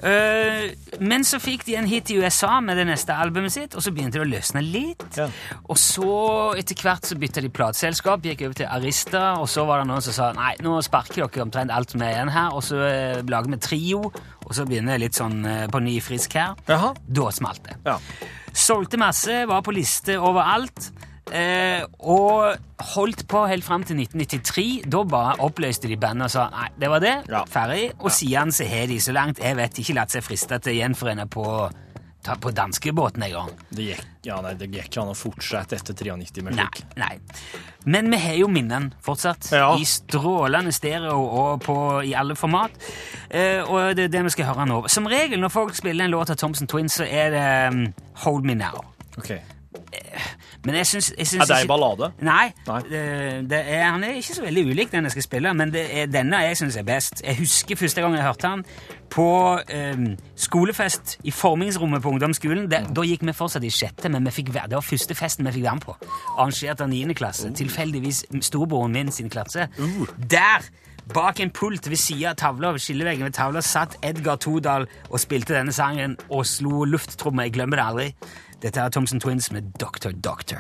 S3: Eh, men så fikk de en hit i USA med det neste albumet sitt, og så begynte det å løsne litt.
S4: Ja.
S3: Og så, etter hvert, så bytta de plateselskap, gikk over til Arista, og så var det noen som sa nei, nå sparker dere omtrent alt som er igjen her, og så eh, lager vi trio, og så begynner jeg litt sånn eh, på ny frisk her.
S4: Jaha.
S3: Da smalt det.
S4: Ja.
S3: Solgte masse, var på liste overalt. Eh, og holdt på helt fram til 1993. Da bare oppløste de bandet og sa nei, det var det.
S4: Ja.
S3: Ferdig. Og siden så har de, så langt jeg vet, ikke latt seg friste til å gjenforene på, ta, på danskebåten en gang.
S4: Det gikk, ja, nei, det gikk ikke an å fortsette etter 93 med
S3: Nei,
S4: slik.
S3: nei. Men vi har jo minnene fortsatt.
S4: Ja.
S3: I strålende stereo og på, i alle format. Eh, og det er det vi skal høre nå. Som regel når folk spiller en låt av Thompson Twins, så er det mm, Hold Me Now.
S4: Ok. Er
S3: Men jeg syns, jeg syns
S4: det
S3: ikke-
S4: ei ballade?
S3: Nei.
S4: Nei.
S3: Det, det er, han er ikke så veldig ulik den jeg skal spille, men det er denne jeg syns er best. Jeg husker første gang jeg hørte han på ehm, skolefest i formingsrommet på ungdomsskolen. Det, Da gikk vi fortsatt i sjette, men vi fikk være, det var første festen vi fikk være med på. Arrangert av niende klasse. Tilfeldigvis storebroren min sin klasse. Der! Bak en pult ved siden av tavla, ved skilleveggen ved tavla satt Edgar Todal og spilte denne sangen og slo lufttrommer. Jeg glemmer det aldri. Dette er Thompson Twins med Doctor Doctor.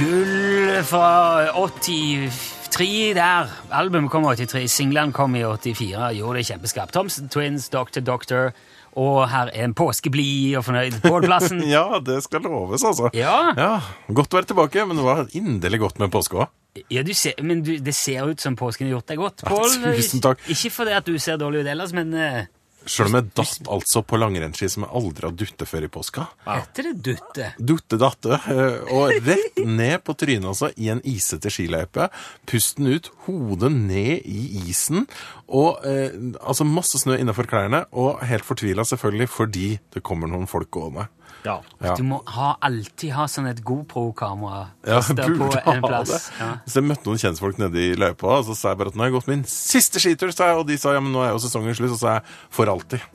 S3: Gull fra 83 der. Albumet kom i 83, singlene kom i 84. Gjorde det kjempeskarpt. Thompson Twins, Doctor Doctor. Og her er en påskeblid og fornøyd Pål
S5: <laughs>
S3: Plassen.
S6: Ja, det skal loves, altså.
S3: Ja.
S6: Godt å være tilbake, men det var inderlig godt med påske òg.
S3: ja, du ser, men du, det ser ut som påsken har gjort deg godt, Pål.
S6: tusen takk.
S3: Ikke fordi at du ser dårlig ut ellers, men eh,
S5: Sjøl om jeg datt altså på langrennsski som jeg aldri har duttet før i påska.
S3: Heter det dutte?
S5: Dutte datte, eh, og rett ned på trynet altså, i en isete skiløype. Pusten ut, hodet ned i isen, og eh, altså masse snø innafor klærne. Og helt fortvila selvfølgelig fordi det kommer noen folk gående.
S4: Ja.
S5: Ja.
S3: Du må ha, alltid ha sånn et GoPro-kamera
S5: Ja,
S3: stå
S5: burde
S3: på
S5: ha
S3: en plass.
S5: det.
S3: Ja.
S5: Så jeg møtte noen kjentfolk nede i løypa, og så sa jeg bare at nå har jeg gått min siste skitur, sa jeg, og de sa ja, men nå er jo sesongen slutt, og så sa jeg for alltid.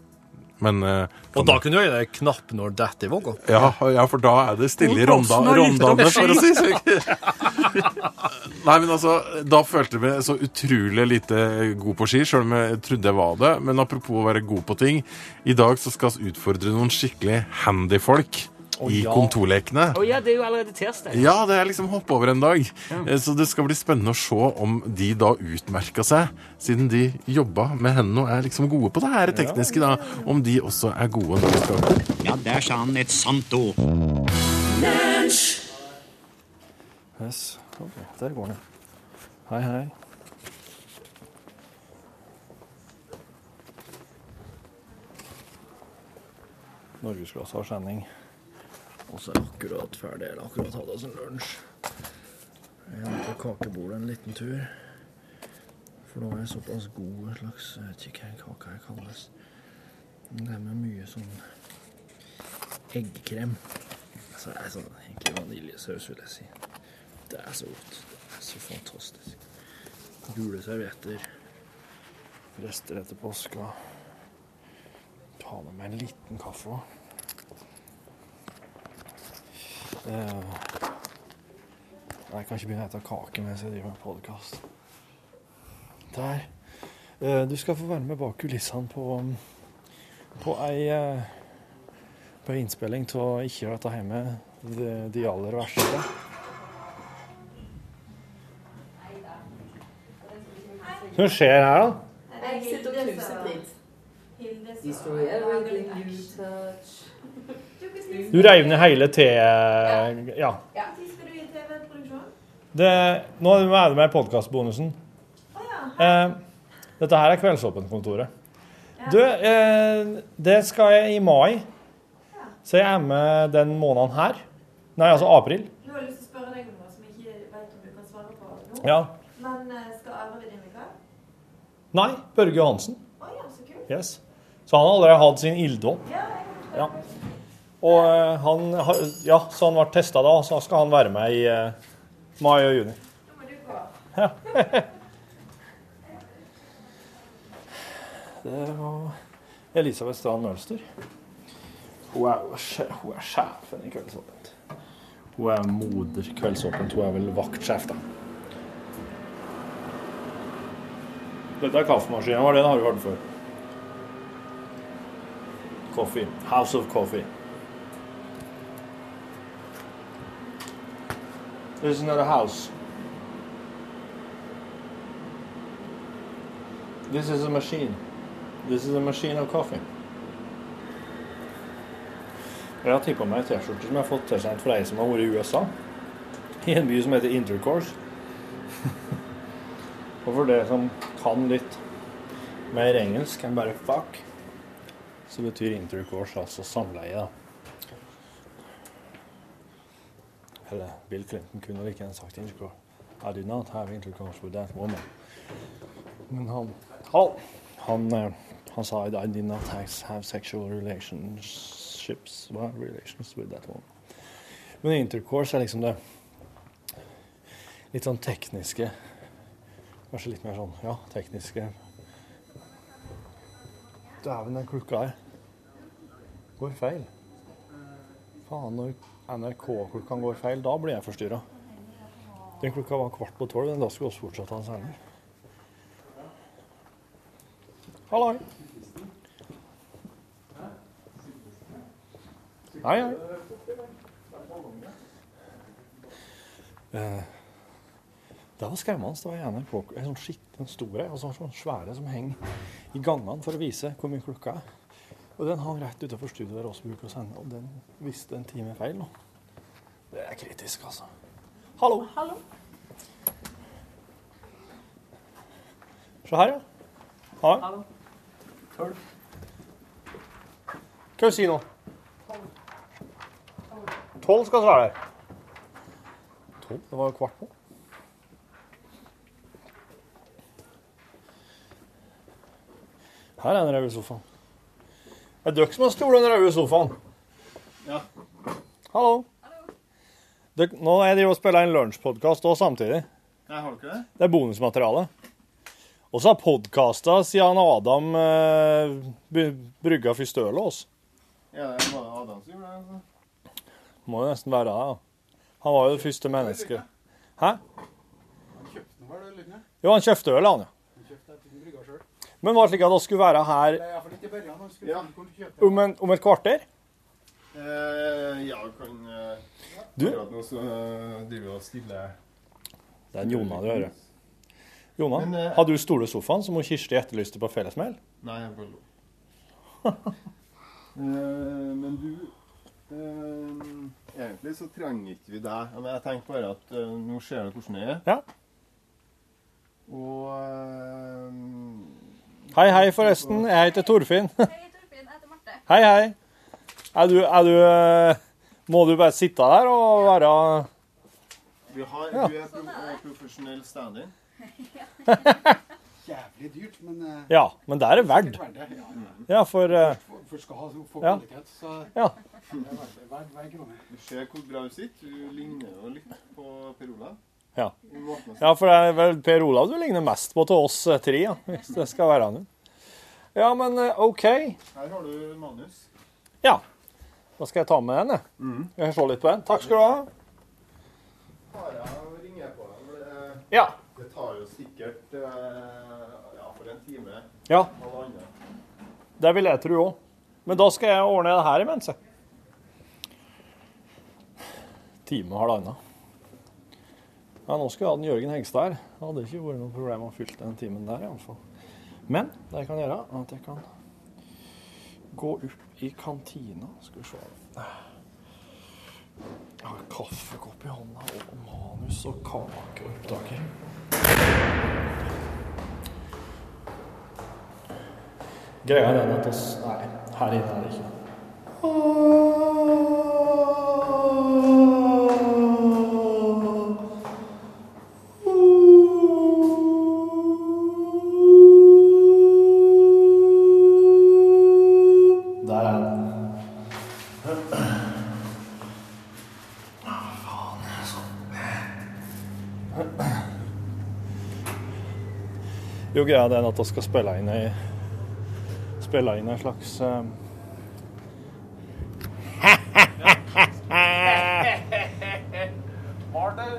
S5: Men eh, kan
S4: Og da kunne du gi deg knapp når dette var gått.
S5: Ja, ja, for da er det stille i ronda,
S4: Mot Åsen og
S5: rondane, for å si det <laughs> Nei, men altså, da følte jeg meg så utrolig lite god på ski, sjøl om jeg trodde jeg var det. Men apropos å være god på ting, i dag så skal vi utfordre noen skikkelig handy folk i
S4: ja.
S5: kontorlekene.
S3: Å ja, det er jo allerede tirsdag.
S5: Ja, det er liksom hoppe over en dag. Eh, Så det skal bli spennende å se om de da utmerka seg, siden de jobba med hendene og er liksom gode på det her tekniske, da. Om de også er gode når de skal
S7: Ja, der sa han et sant ord.
S4: Yes. Oh, Der går den. Hei, hei. Norgesklasse har sending. Og så er jeg akkurat ferdig. Eller akkurat hadde oss en lunsj. Jeg må på kakebordet en liten tur. For nå er jeg såpass god en slags Jeg vet ikke hva kaka her kalles. Men det er med mye sånn eggkrem. Så det er sånn egentlig vaniljesaus, vil jeg si. Det er så godt. Det er så fantastisk. Gule servietter. Rester etter påska. Ta med meg en liten kaffe òg. Nei, Eh, jeg kan ikke begynne å ete kake mens jeg driver med podkast. Der. Eh, Du skal få være med bak kulissene på, mm, på ei eh, På ei innspilling av Ikke gjør dette hjemme, de, de aller verste. Hva skjer her, da? Du reiv ned hele te... Ja. Det, nå er det med podkastbonusen. Eh, dette her er Kveldsåpent-kontoret. Du, eh, det skal jeg i mai. Så jeg er med den måneden her. Nei, altså april.
S8: Nå har jeg lyst til å spørre deg om noe som jeg ikke vet om du kan svare på nå.
S4: Ja.
S8: Men eh, skal Arvid inn i kveld?
S4: Nei, Børge Johansen.
S8: Å ja, så kult.
S4: Yes. Så han har allerede hatt sin ilddåp.
S8: Ja, jeg
S4: Ja. Og eh, han, har- ja, så han ble testa da, så skal han være med i eh, mai og juni.
S8: Nå må du gå.
S4: <laughs> Det var Elisabeth Strand Mønster. Hun er, jo sje- hun er sjefen i Kveldsåpent. Hun er moder Kveldsåpent. Hun er vel vaktsjef, da. Dette er kaffemaskinen vår. Den har du hørt før. Coffee. House of Coffee. This is not a house. This is a machine. This is a machine of coffee. Jeg har tippa meg en T-skjorte som jeg har fått tilsendt fra ei som har vært i USA. I en by som heter Intercourse. <laughs> Og for dere som kan litt mer engelsk enn bare fuck, så betyr intercourse altså samleie, da. Eller Bill Clinton kunne like gjerne sagt intercourse. I did not have intercourse with that woman. Men han Hallo! Han, eh, han sa I did not have- have sexual relationships well, relations with that one. Men intercourse er liksom det litt sånn tekniske Kanskje litt mer sånn ja, tekniske Dæven, den klokka her går feil. Faen, når NRK-klokka går feil, da blir jeg forstyrra. Den klokka var kvart på tolv, men da skulle vi også fortsette hans ærend. Halloi. Hei, hei. Eh, Det var skremmende. Det var gjerne en klok- en sånn skitten stor ei, og så sånn svære som henger i gangene for å vise hvor mye klokka er. Og den hang rett utenfor studioet der også bruker å sende, og den visste en time feil nå. Det er kritisk, altså. Hallo. Se her, ja. Hei. Tolv. Hva sier du nå? Tolv skal vi være der. Tolv? Det var jo kvart på. Her er den røde sofaen. Det er dere som har stolt den røde sofaen.
S5: Ja.
S4: Hallo. Dere, nå er de jo og spiller en lunsjpodkast òg samtidig.
S5: Nei, har du ikke det?
S4: Det er bonusmateriale. Og så har podkasta siden Adam eh, bry- brygga først ølet oss.
S5: Ja, det er bare Adam som gjorde det. altså.
S4: Må jo nesten være det. da. Han var jo det første mennesket. Hæ?
S5: Kjøpte den vel, eller?
S4: Jo, han kjøpte øl, han, ja. Men var det slik at vi skulle være her
S5: Ja.
S4: om, en, om et kvarter?
S5: Eh, ja, du kan eh,
S4: Du?
S5: akkurat Nå så eh, driver vi og stiller
S4: Det er en Jona du hører. Jona,
S5: Mm. Men, eh,
S4: har du stole sofaen som hun Kirsti etterlyste på fellesmail?
S5: Nei, jeg
S2: <laughs>
S5: bare lo. Eh, men du eh, Egentlig så trenger ikke vi deg. Men jeg tenkte bare at eh, nå ser du hvordan det er.
S4: Ja.
S5: Og eh,
S4: Hei, hei, forresten. Jeg heter Torfinn.
S9: Hei, Torfinn. Jeg heter Marte.
S4: Hei, hei. Er du, er du eh, Må du bare sitte der og være
S5: eh, vi har,
S4: Ja.
S5: du er
S9: Sånn
S5: pro eh, profesjonell
S9: <laughs>
S5: stand-in.
S10: Jævlig dyrt, men eh,
S4: Ja, men det er det verdt.
S10: det er verdt det. Ja, ja.
S4: Ja, for eh,
S10: For, for skal ha få
S4: Ja.
S10: kvalitet, så
S4: Ja.
S10: det er verdt det. Hver, hver krone.
S5: Du ser hvor bra du sitter. Du ligner jo litt på Per Olav.
S4: Ja.
S5: I måten å
S4: Ja, for det er vel Per Olav du ligner mest på til oss eh, tre, ja. hvis det skal være han. Ja, men eh, OK.
S5: Her har du manus.
S4: Ja. Da skal jeg ta med den, jeg.
S5: Mm.
S4: Jeg får se litt på den. Takk skal du ha.
S5: Har jeg å ringe på deg? for det-
S4: Ja.
S5: Det tar jo sikkert eh, ja, for en time.
S4: ja.
S5: Halvannen.
S4: Det vil jeg tro òg. Men da skal jeg ordne det her imens, jeg. Time og halvannen. Ja, nå skulle jeg ha den Jørgen Hegstad her. Det hadde ikke vært noe problem å fylle den timen der, iallfall. Men det jeg kan gjøre, er at jeg kan gå opp i kantina. Skal vi se Jeg har kaffekopp i hånda og manus og kakeopptaker. Greia er den at oss Nei, her inne er det ikke. Der er den. Jo, greia er den at vi skal spille inn ei spille inn en slags eh,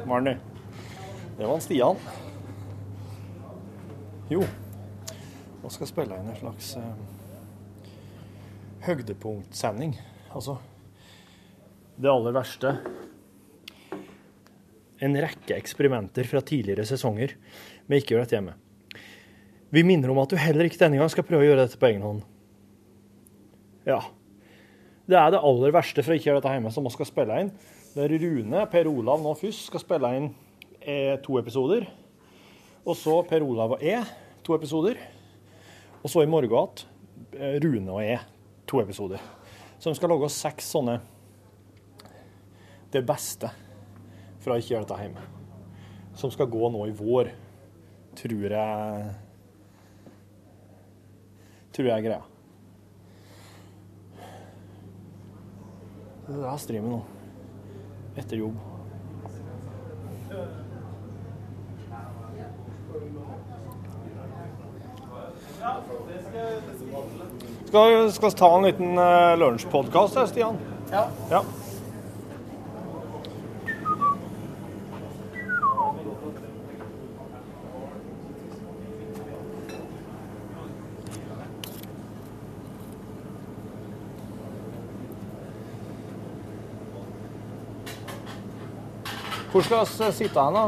S4: Marny. Det var han Stian. Jo, nå skal jeg spille inn en slags eh, høydepunktsending. Altså det aller verste. En rekke eksperimenter fra tidligere sesonger vi ikke gjør dette hjemme. Vi minner om at du heller ikke denne gang skal prøve å gjøre dette på egen hånd. Ja. Det er det aller verste for å ikke gjøre dette hjemme, som vi skal spille inn. Der Rune, Per Olav nå først, skal spille inn eh, to episoder. Og så Per Olav og jeg, to episoder. Og så i morgen igjen eh, Rune og jeg, to episoder. Så de skal lage oss seks sånne Det beste for å ikke gjøre dette hjemme. Som skal gå nå i vår, tror jeg tror jeg er greia. Det der streamer nå. Etter jobb. Skal skal vi ta en liten uh, lunsjpodkast, Stian? Ja. Hvor skal vi sitte hen, da?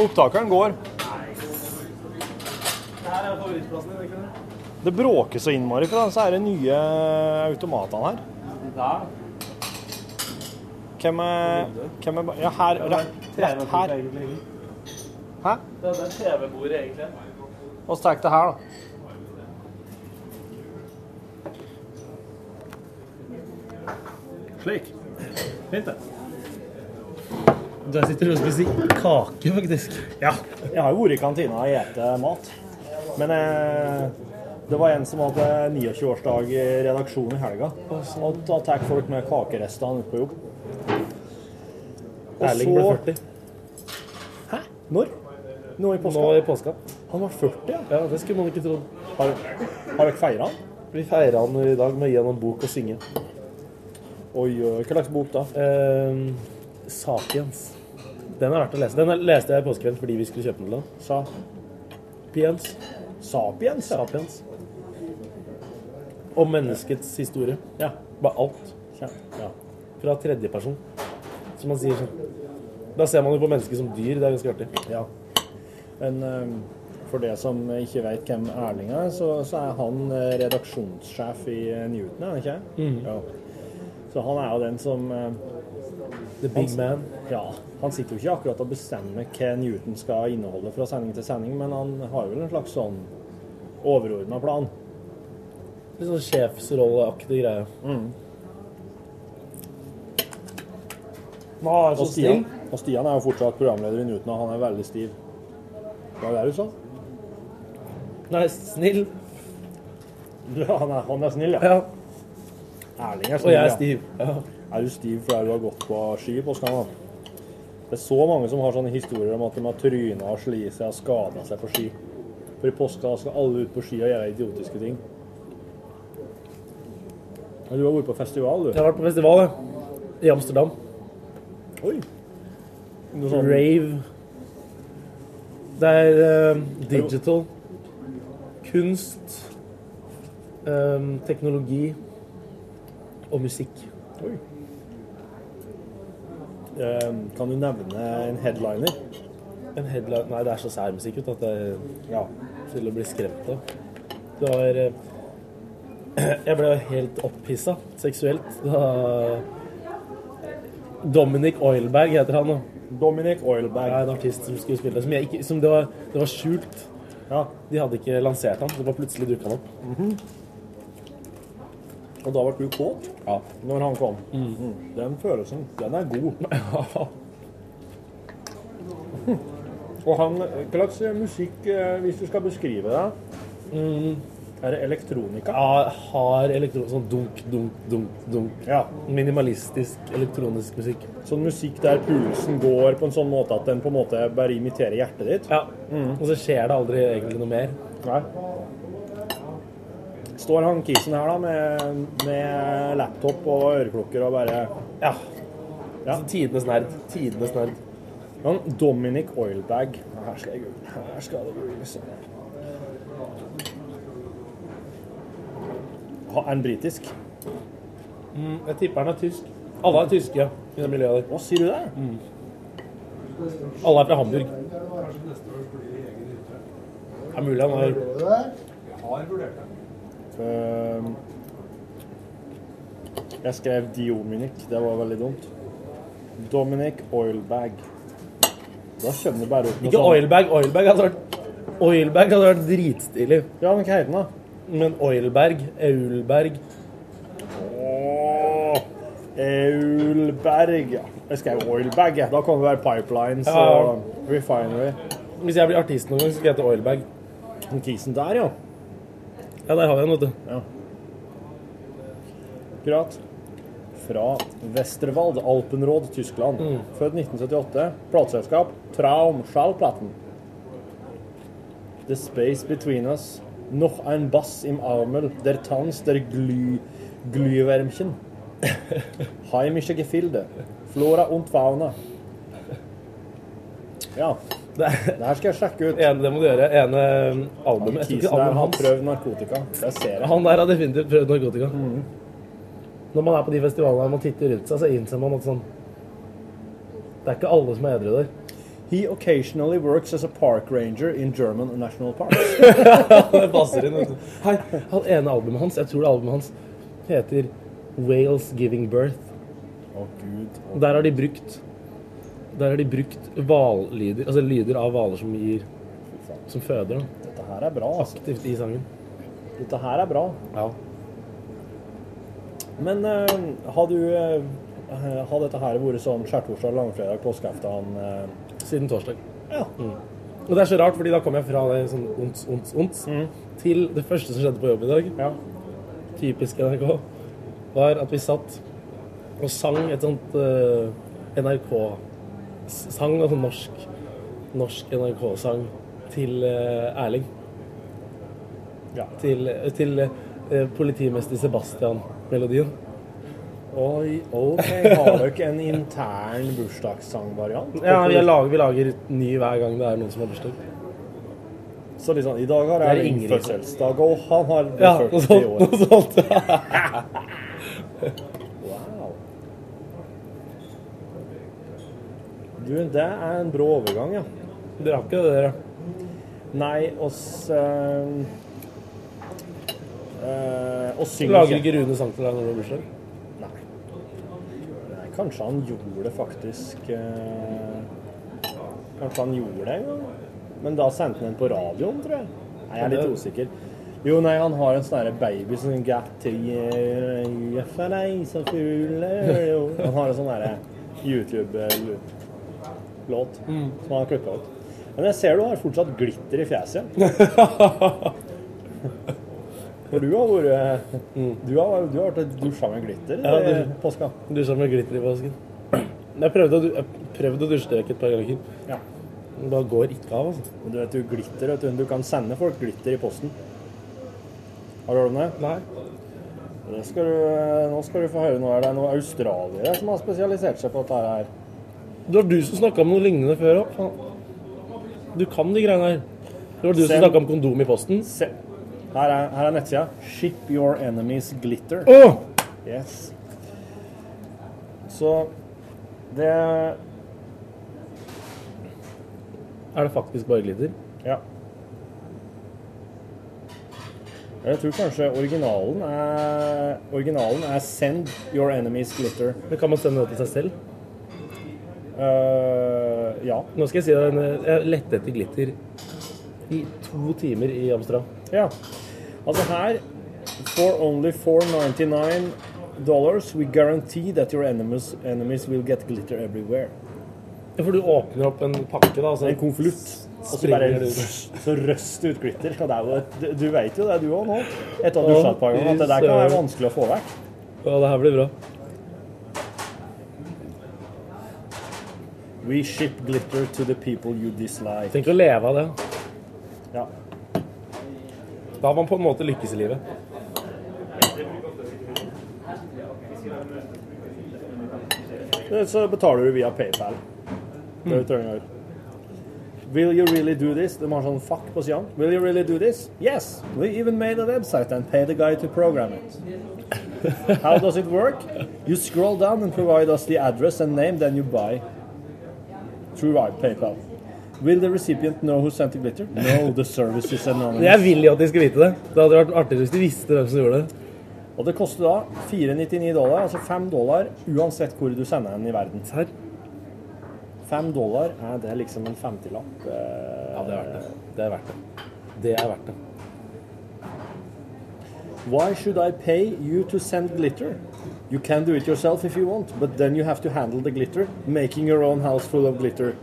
S4: Opptakeren går. Det bråker så innmari fra disse her nye automatene her. Hvem er, hvem er ba- Ja, her. Rett, rett her. Hæ?
S11: Det er TV-bordet, egentlig.
S4: Oss tar det her, da. Slik. Fint, det.
S2: Der sitter du og spiser kake, faktisk.
S4: Ja. Jeg har jo vært i kantina og spist mat. Men eh, det var en som hadde 29-årsdag i redaksjonen i helga. Og da tar folk med kakerestene ut på jobb.
S2: Erling ble 40.
S4: Hæ? Når? Nå i påska?
S2: Nå i påska.
S4: Han var 40, ja?
S2: Ja, det skulle man ikke trodd.
S4: Har, har dere feira han?
S2: Vi feirer han i dag med å gi han en bok og synge.
S4: Oi, oi, hva slags bok da?
S2: Eh, Sapiens. Den er verdt å lese. Den leste jeg i påsken fordi vi skulle kjøpe den til han.
S4: Sa
S2: Piens.
S4: Sapiens? ja.
S2: Sapiens. Om menneskets historie.
S4: Ja.
S2: Bare alt.
S4: Ja.
S2: Ja. Fra tredjeperson. Som man sier sånn. Da ser man jo på mennesket som dyr. Det er ganske artig.
S4: Ja. Men eh, for det som ikke vet hvem Erling er, så, så er han eh, redaksjonssjef i eh, Newton, er han ikke?
S2: Mhm.
S4: Ja. Så han er jo den som eh,
S2: The big man.
S4: Ja, han sitter jo ikke akkurat og bestemmer hva Newton skal inneholde fra sending til sending, men han har vel en slags sånn overordna plan.
S2: Litt sånn sjefsrolleaktig greie.
S4: Hva er
S2: så
S4: og, Stian, og Stian er jo fortsatt programleder i Newton, og han er veldig stiv. Hva er det du sa?
S2: Nei, snill.
S4: <laughs> Han er, han er snill, ja.
S2: Ja.
S4: Erling er
S2: Og
S4: snill,
S2: jeg er
S4: ja.
S2: stiv. Ja.
S4: Er du stiv fordi du har gått på ski på Skandal? Det er så mange som har sånne historier om at de har tryna og slitt seg og skada seg på ski. For i påska skal alle ut på ski og gjøre idiotiske ting. Ja, Du har vært på festival,
S2: Jeg
S4: du.
S2: har vært på festival jeg. i Amsterdam.
S4: Oi. Noe sånn
S2: Rave. Det er eh, digital. Kunst. eh, teknologi. Og musikk.
S4: Oi. Eh, Kan du nevne en headliner?
S2: En headline Nei, det er så sær musikk ut at det er
S4: Ja.
S2: til å bli skremt av. Det var eh, <clears throat> Jeg ble jo helt opphissa seksuelt da Dominic Oilberg heter han nå.
S4: Dominic
S2: Det
S4: Oilberg.
S2: er en artist som skulle spille som jeg ikke, som det, var, det var skjult.
S4: Ja.
S2: De hadde ikke lansert han, så bare plutselig dukka han opp.
S4: Og da ble du kåt
S2: Ja.
S4: når han kom. Mm. Den følelsen, den er
S2: <laughs>
S4: god. Og han, hva slags musikk, eh, hvis du skal beskrive det, er det elektronika?
S2: Mm. Ja, hard elektron... Sånn dunk, dunk, dunk, dunk.
S4: Ja.
S2: Minimalistisk elektronisk musikk.
S4: Sånn musikk der pulsen går på en sånn måte at den på en måte bare imiterer hjertet ditt? Mm.
S2: Ja. Og så skjer det aldri egentlig noe mer.
S4: Nei. Står han kisen her da med, med laptop og øreklokker og bare
S2: Ja.
S4: Ja.
S2: Så Tidenes nerd. Tidenes nerd.
S4: Han Dominic Oilbag. Her skal jeg google. Her skal det googles. Ha- Er han britisk?
S2: Mm, Jeg tipper han er tysk. Alle er tyske i det miljøet der. Mm.
S4: Hva sier du der?
S2: Alle er fra Hamburg. Det er mulig han har
S4: Ehm, jeg skrev Diominic. Det var veldig dumt. Dominic Oilbag. Da kommer det bare opp sånn- noe
S2: Ikke Oilberg. Oilberg hadde vært Oilberg hadde vært dritstilig.
S4: Ja, men hva heter den, da?
S2: Men Oilberg, Aulberg
S4: Åh, Eulberg, ja. Jeg skrev Oilbag, ja. Da kan det være Pipelines
S2: Ja.
S4: og Refinery.
S2: Hvis jeg blir artist noen gang, så skal jeg hete Oilberg.
S4: Den kisen der, ja.
S2: Ja, der har vi den, vet du.
S4: Akkurat. Fra Westerwald, Alpenråd, Tyskland.
S2: Mm.
S4: Født 1978. Plateselskap Traum Schallplatten. The Space Between Us. Noch ein Bass im Ärmel. Der Tanz der Glü...
S2: <laughs>
S4: Glühwärmchen. Heimische Gefilde. Flora und Fauna. Ja.
S2: Det er
S4: Det her skal jeg sjekke ut.
S2: ene, det må du gjøre. ene albumet. Jeg tror
S4: Kisen
S2: ikke
S4: der
S2: albumet
S4: har
S2: hans.
S4: prøvd narkotika. Det ser jeg.
S2: Han der har definitivt prøvd narkotika. Når man er på de festivalene og man titter rundt seg, så innser man at sånn Det er ikke alle som er edru der.
S4: He occasionally works as a park ranger in German national
S2: <laughs>
S4: parks.
S2: Det passer inn. vet du. Hei, han ene albumet hans, jeg tror det er albumet hans, heter Wales Giving Birth.
S4: Å, Gud.
S2: Og Der har de brukt Der har de brukt hvallyder, altså lyder av hvaler som gir Som føder, da.
S4: Dette her er bra, altså.
S2: Aktivt i sangen.
S4: Dette her er bra.
S2: Ja.
S4: Men eh, har du eh, Har dette her vært sånn skjærtorsdag, langfredag, påskeaften eh,
S2: Siden torsdag. Mm.
S4: Ja.
S2: Og det er så rart, fordi da kom jeg fra det sånn ondt, ondt, ondt,
S4: Mm.
S2: til det første som skjedde på jobb i dag. Typisk NRK. Var at vi satt og sang et sånt eh, NRK-sang, altså norsk, norsk NRK-sang, til eh, Erling. Til, til eh, politimester Sebastian-melodien.
S4: Oi, ok. Har dere ikke en intern bursdagssangvariant?
S2: Ja, vi lager, vi lager ny hver gang det er noen som har bursdag.
S4: Så liksom, i dag har
S2: Det er
S4: jeg
S2: Ingrid.
S4: innfødselsdag, og han har blitt
S2: Ja, noe
S4: 40
S2: sånt.
S4: år.
S2: Noe sånt.
S4: Wow. Du, det er en brå overgang, ja.
S2: Dere har ikke det, dere?
S4: Nei, oss eh, eh, oss synger
S2: Lager ikke Rune sang til deg når du har bursdag?
S4: Nei, kanskje han gjorde det faktisk eh, Kanskje han gjorde det en gang? Men da sendte han den på radioen, tror jeg. Nei, jeg er litt usikker. Jo, nei, han har en eh, sånn her baby som sånn, «Got to you, you for deg som fugler jo». Han har en sånn derre YouTube-låt
S2: Mm.
S4: som han har klippa ut. Men jeg ser du har fortsatt glitter i fjeset.
S2: <laughs>
S4: For du har vært Du har, du har vært dusja med glitter
S2: Mm. Ja,
S4: i
S2: det-
S4: påska.
S2: Dusja med glitter i vasken. <clears throat> Jeg prøvde å, du- jeg prøvde å dusje deg et par ganger.
S4: Ja.
S2: Men da går ikke av, altså.
S4: Men Du vet jo glitter, vet du. Du kan sende folk glitter i posten. Har du hørt om det?
S2: Nei.
S4: det skal du, nå skal du få høre noe her. Det er noen australiere som har spesialisert seg på dette her.
S2: Det var du som snakka om noe lignende før òg. Du kan de greiene her. Det var du som
S4: Send-
S2: snakka om kondom i posten.
S4: Se. Her er, her er nettsida. Ship your enemies glitter.
S2: Åh!
S4: Yes. Så det
S2: Er det faktisk bare glitter?
S4: Ja. Jeg tror kanskje originalen er, originalen er 'Send your enemies glitter'.
S2: Men kan man sende det til seg selv?
S4: Eh, ja.
S2: Nå skal jeg si deg en Jeg lette etter glitter i to timer i Amsterdam.
S4: Ja. Altså her For only 499 dollars we guarantee that your enemies, enemies will get glitter everywhere.
S2: Ja, For du åpner opp en pakke, da. Altså
S4: En konvolutt. Og så bare så røster ut glitter. Og det er jo, du, du vet jo det, du òg nå, etter å ha dusja et par ganger, at det der kan være vanskelig å få vekk.
S2: Ja, det her blir bra.
S4: We ship glitter to the people you dislike.
S2: Tenk å leve av det.
S4: Ja.
S2: Da har man på en måte lykkes i livet.
S4: Eh, Så betaler du via PayPal. Det
S2: Mm.
S4: er jo trenger. Will you really do this? De har sånn fuck på siden. Will you really do this? Yes! We even made a website and paid a guy to program
S2: <laughs>
S4: it. How does it work? You scroll down and provide us the address and name, then you buy. Through our PayPal. Will the recipient know who sent the glitter? No, the service is anonymous.
S2: Jeg vil jo at de skal vite det. Det hadde vært artigere hvis de visste hvem som gjorde det.
S4: Og det koster da 4,99 dollar, altså 5 dollar, uansett hvor du sender den i verden.
S2: Serr?
S4: 5 dollar, er det liksom en eh, 50-lapp? Ja,
S2: det er verdt det. Det er verdt det. Det er verdt det.
S4: Why should I pay you to send glitter? You can do it yourself if you want, but then you have to handle the glitter, making your own house full of glitter.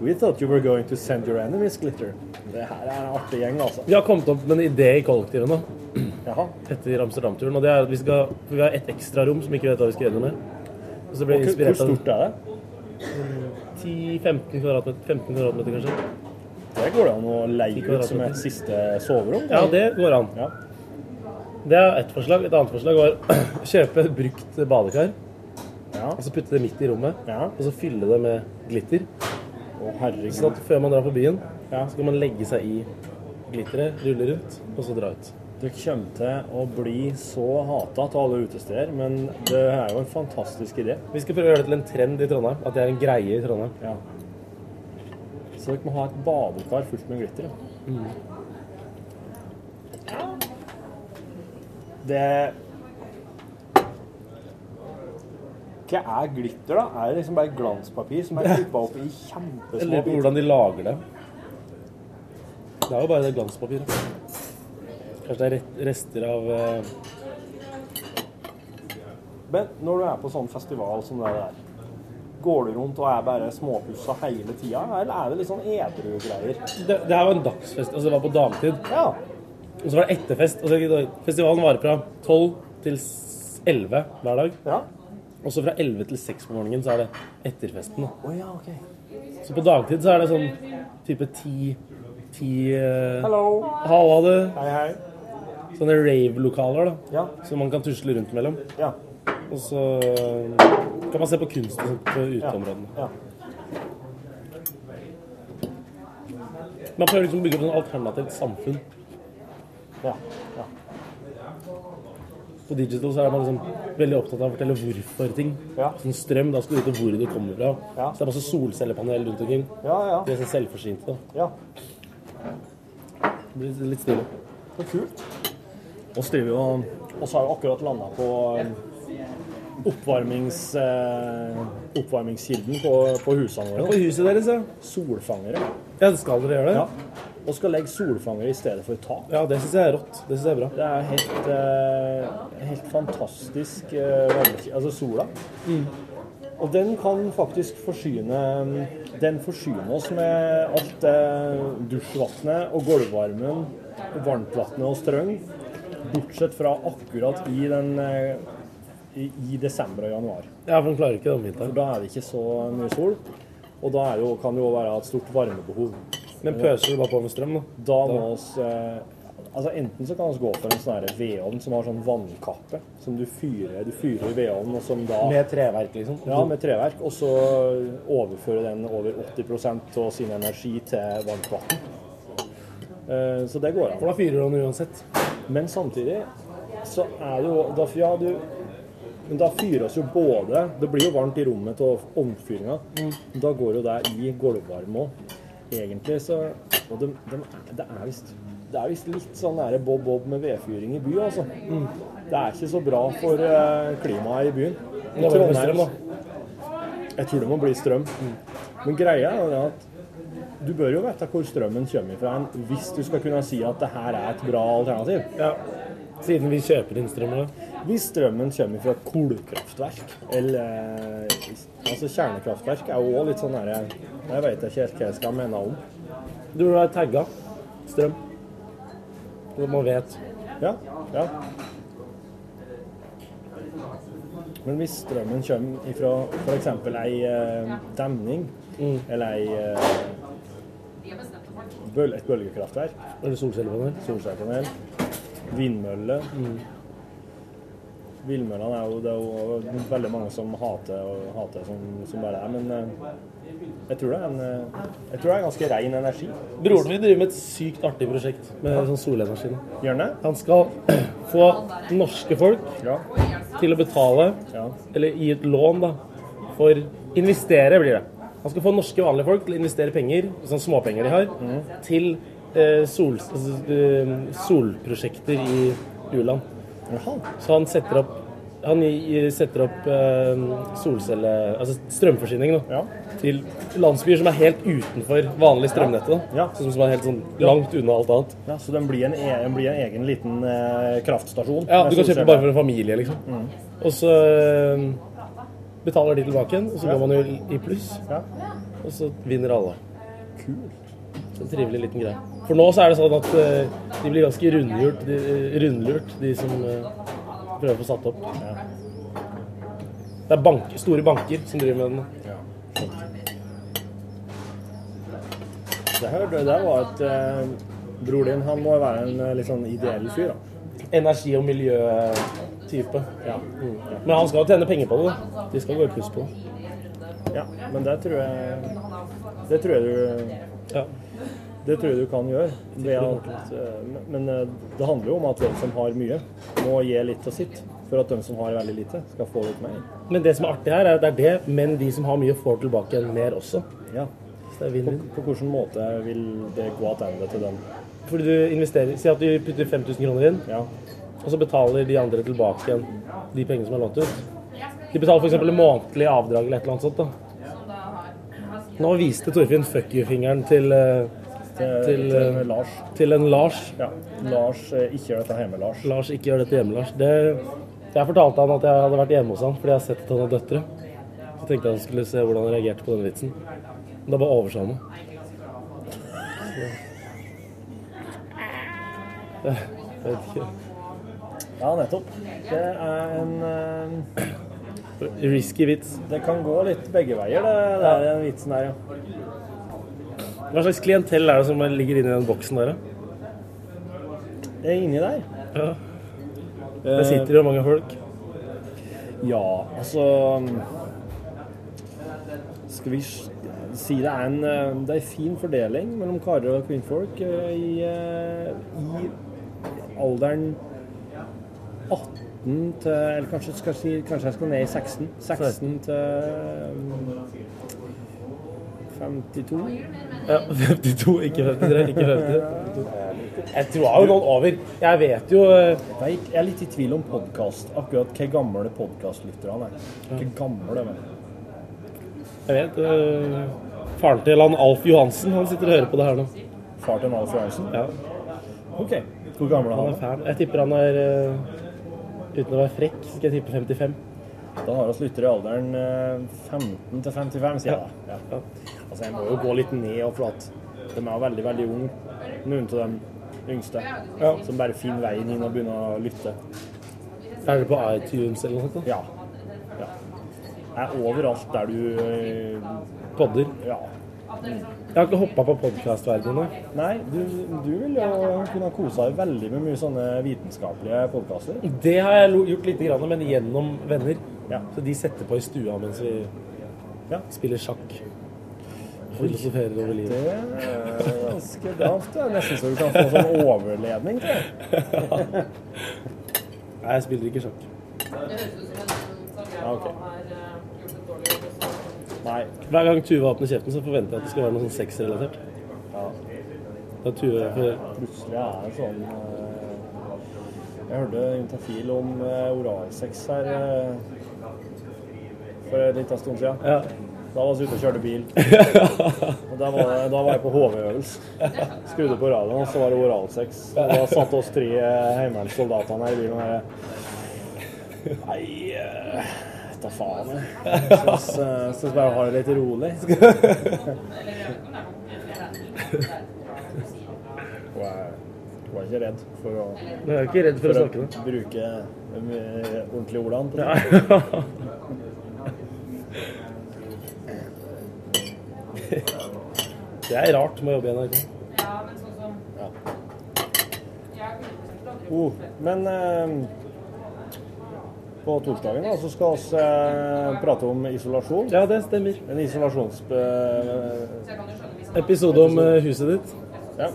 S4: We thought you were going to send your enemies glitter. Det her er en artig gjeng, altså.
S2: Vi har kommet opp med en idé i kollektivet nå
S4: Jaha.
S2: etter Amsterdam-turen. Og det er at vi skal for Vi har et ekstra rom som vi ikke vet hva vi skal gjøre noe med. Og så ble
S4: Hvor, hvor
S2: jeg inspirert av
S4: stort er det?
S2: 10-15 kvadratmeter, 15 kvadratmeter, kanskje.
S4: Det går det an å leie ut som
S2: kvadratmeter.
S4: et siste soverom?
S2: Ja, det går an.
S4: Ja.
S2: Det er ett forslag. Et annet forslag var <clears throat> kjøpe et brukt badekar
S4: Ja.
S2: og så putte det midt i rommet.
S4: Ja.
S2: Og så fylle det med glitter.
S4: Å,
S2: Sånn
S4: herregud.
S2: at før man drar på byen,
S4: Ja.
S2: så kan man legge seg i glitteret, rulle rundt, og så dra ut.
S4: Det kommer til å bli så hata av alle utesteder, men det er jo en fantastisk idé.
S2: Vi skal prøve å gjøre det til en trend i Trondheim. At det er en greie i Trondheim.
S4: Ja. Så dere må ha et badekar fullt med glitter. ja. Det Hva er glitter, da? Er det liksom bare glanspapir som er klippa opp i
S2: Jeg
S4: kjempesmå
S2: lurer på hvordan de lager det. Det er jo bare det glanspapiret. Kanskje det er ret- rester av eh,
S4: Men når du er på sånn festival som det der, går du rundt og er bare småpussa hele tida, eller er det litt sånn edru greier?
S2: Det, det her var en dagsfest, altså det var på dametid. Og så var det etterfest. Altså, festivalen varer fra 12 til s- 11 hver dag. Og så fra 11 til 6 på morgenen så er det etterfesten. da.
S4: Å ja, OK.
S2: Så på dagtid så er det sånn type ti ti eh,
S4: Hallo.
S2: Halla, du.
S4: Hei, hei.
S2: Sånne rave-lokaler da,
S4: Ja.
S2: som man kan tusle rundt mellom.
S4: Ja.
S2: Og så eh, kan man se på kunst og sånt på uteområdene.
S4: Ja.
S2: Man prøver liksom å bygge opp et alternativt samfunn.
S4: Ja. ja.
S2: På digital så er man liksom veldig opptatt av å fortelle hvorfor ting. Sånn strøm, da skal du vite hvor det kommer fra. Så det er masse solcellepanel rundt omkring.
S4: Ja, ja.
S2: De er sånn selvforsynte. da.
S4: Ja.
S2: Det blir litt stille.
S4: Så kult. Og så driver vi og Og så har vi akkurat landa på eh, oppvarmings, eh, oppvarmingskilden på, på husene våre.
S2: Ja, på huset deres, ja.
S4: Solfangere.
S2: Ja, det skal dere gjøre det?
S4: Ja. Og skal legge solfangere i stedet for tak.
S2: Ja, det syns jeg er rått. Det syns jeg er bra.
S4: Det er helt, eh, helt fantastisk eh, varmekilde. Altså sola. Og den kan faktisk forsyne Den forsyner oss med alt eh, dusjvannet og gulvvarmen, varmtvannet og strøm. Bortsett fra akkurat i den eh, i, i desember og januar.
S2: Ja, for de klarer ikke det om vinteren.
S4: For da er det ikke så mye sol. Og da er det jo, kan det jo være et stort varmebehov.
S2: Men pøser du bare på med strøm, da?
S4: Da må oss eh, Altså Enten så kan vi gå for en sånn her vedovn som har sånn vannkappe. Som du fyrer du fyrer i vedovnen, og som da
S2: Med treverk, liksom?
S4: ja, med treverk. Og så overfører den over 80 av sin energi til varmt vann. Eh, Så det går an.
S2: For da fyrer han uansett.
S4: Men samtidig så er det jo da, Ja, du Men da fyres jo både Det blir jo varmt i rommet av omfyringa.
S2: Mm.
S4: Da går jo det i gulvvarme òg. Egentlig så Og de, de, det er visst det er visst litt sånn nære Bob Bob med vedfyring i by, altså.
S2: Mm.
S4: Det er ikke så bra for eh, klimaet i byen.
S2: Da må det bli strøm, da.
S4: Jeg tror det må bli strøm.
S2: Mm.
S4: Men greia er jo det at du bør jo vite hvor strømmen kommer fra hen, hvis du skal kunne si at det her er et bra alternativ.
S2: Ja. Siden vi kjøper inn strøm, da.
S4: Hvis strømmen kommer fra et kullkraftverk, eller altså kjernekraftverk, er jo også litt sånn derre Jeg veit ikke helt hva jeg skal mene om.
S2: Du burde være tagga strøm. Så man vet.
S4: Ja, ja. Men hvis strømmen kommer ifra f.eks. ei eh, demning,
S2: Mm.
S4: eller ei eh, bøl, et bølgekraftverk,
S2: Eller solcellepanel.
S4: solcellepanel, vindmølle
S2: Mm.
S4: Vindmøllene er jo det er jo veldig mange som hater og hater som, som bare er, men eh, jeg tror, det er en, eh, jeg tror det er ganske rein energi.
S2: Broren min driver med et sykt artig prosjekt med sånn solenergi. nå.
S4: Gjerne?
S2: Han skal <clears throat> få norske folk
S4: Ja.
S2: til å betale,
S4: Ja.
S2: eller gi et lån, da, for investere, blir det. Han skal få norske vanlige folk til å investere penger, sånn småpenger de har, til eh, sol, s- eh, solprosjekter i u-land.
S4: Jaha.
S2: Så han setter opp han i- i- setter opp eh, solcelle... Altså strømforsyning da,
S4: Ja.
S2: til landsbyer som er helt utenfor vanlig strømnettet. da.
S4: Ja.
S2: Som, som er helt sånn langt unna alt annet.
S4: ja. Så den blir en, e den blir en egen liten eh, kraftstasjon?
S2: Ja,
S4: med
S2: Du kan kjøpe
S4: solceller.
S2: bare for en familie, liksom. Og så eh, betaler de tilbake igjen, og så går man jo i- i pluss.
S4: Ja.
S2: Og så vinner alle.
S4: Kult.
S2: Så en trivelig liten greie. For nå så er det sånn at eh, de blir ganske rundlurt, de, rundlurt, de som eh, prøver å få satt opp. Det er bank, store banker som driver med den. nå.
S4: Det her det der var et eh, Bror din han må være en eh, litt sånn ideell fyr, da.
S2: energi- og miljøtype.
S4: Ja.
S2: Mm. Men han skal jo tjene penger på det. da. De skal gå i pluss på det.
S4: ja. Men det tror jeg Det tror jeg du
S2: Ja.
S4: Det tror jeg du kan gjøre. Ved at, eh, men eh, det handler jo om at de som har mye, må gi litt av sitt. For at de som har veldig lite, skal få litt mer.
S2: Men det som er artig her, er at det er det, men de som har mye, får tilbake igjen mer også.
S4: Ja.
S2: Så det er vinn-vinn.
S4: På hvilken måte vil det gå tilbake til dem?
S2: Fordi du investerer Si at du putter 5000 kroner inn,
S4: Ja.
S2: og så betaler de andre tilbake igjen de pengene som er lånt ut. De betaler f.eks. månedlig avdrag eller et eller annet sånt. da. Nå viste Torfinn fuck you-fingeren til, eh,
S4: Til,
S2: Til,
S4: til,
S2: eh,
S4: Lars.
S2: til en Lars.
S4: Ja. Lars eh, ikke gjør dette hjemme, Lars.
S2: Lars, ikke gjør dette hjemme, Lars. Det,
S4: Jeg fortalte han at jeg hadde vært hjemme hos han fordi jeg har sett at han har døtre. Så tenkte jeg han skulle se hvordan han reagerte på den vitsen. Men da bare oversa han meg. Jeg vet ikke.
S2: Ja, nettopp. Det er en eh,
S4: Risky vits.
S2: Det kan gå litt begge veier, det, det er den vitsen her, ja.
S4: Hva slags klientell er det som ligger inni den boksen der? da?
S2: Det er inni der. Eh,
S4: Ja. Det sitter jo mange folk.
S2: Ja, altså Skal vi s- si det er en, eh, det er en fin fordeling mellom karer og kvinnfolk eh, i, eh, i alderen 18 til Eller kanskje, skal jeg si, kanskje jeg skal ned i 16. 16 til mm, 52.
S4: Ja, <laughs> 52, ikke 53. Ikke 53. Jeg tror jeg har jo noen over. Jeg vet jo eh,
S2: Veit, jeg er litt i tvil om podkast. Akkurat hvor gamle podkastlytterne er. Hvor gamle de er.
S4: Jeg vet eh, Faren til han Alf Johansen, han sitter og hører på det her nå.
S2: Far til Alf Johansen?
S4: Ja,
S2: OK. Hvor gammel er
S4: han er
S2: han?
S4: fan. Jeg tipper han er eh, Uten å være frekk, skal jeg tippe 55.
S2: Da har oss lyttere i alderen eh, 15 til 55, sier jeg da. Ja. Altså, jeg må jo gå litt ned, og for at de er jo veldig, veldig unge. Noen av de yngste som bare finner veien inn og begynner å lytte.
S4: Er det på iTunes eller noe sånt?
S2: Ja. ja. Er overalt der du eh,
S4: da? Podder.
S2: Ja.
S4: Jeg har ikke hoppa på podkastverdenen ennå.
S2: Nei, du, du vil jo kunne kose deg veldig med mye sånne vitenskapelige podkaster.
S4: Det har jeg lo- gjort lite grann, men gjennom venner.
S2: Ja.
S4: Så de setter på i stua mens vi
S2: Ja.
S4: spiller sjakk. Filosoferer over
S2: Det
S4: livet.
S2: er ganske bravt. Det er nesten så du kan få sånn overledning til det.
S4: Nei, jeg spiller ikke sjakk.
S2: Ja, ok. Nei.
S4: Hver gang Tuva åpner kjeften, så forventer jeg at det skal være noe sånn sexrelatert. Da Tuva for...
S2: Plutselig er det sånn eh, Jeg hørte Juntafil om eh, oralsex her eh, for en liten stund siden.
S4: Ja.
S2: Da var vi ute og kjørte bil. Og da var, jeg- da var jeg på HV-øvelse. Skrudde på radioen, og så var det oralsex. Og da satt oss tre eh, heimevernssoldatene her i bilen og bare Nei, eh, ta faen.
S4: <laughs>
S2: Jeg syns, eh, syns bare jeg har det litt <laughs> rolig. Hun er, hun er ikke redd for å,
S4: Men Jeg er ikke redd for å snakke det.
S2: bruke de eh, ordentlige ordene. på ting.
S4: <laughs> Det er rart med å jobbe i NRK.
S2: Oh, men eh, på torsdagen da, så skal vi eh, prate om isolasjon.
S4: Ja, det stemmer.
S2: En isolasjons... eh,
S4: Episode om eh, huset ditt.
S2: ja.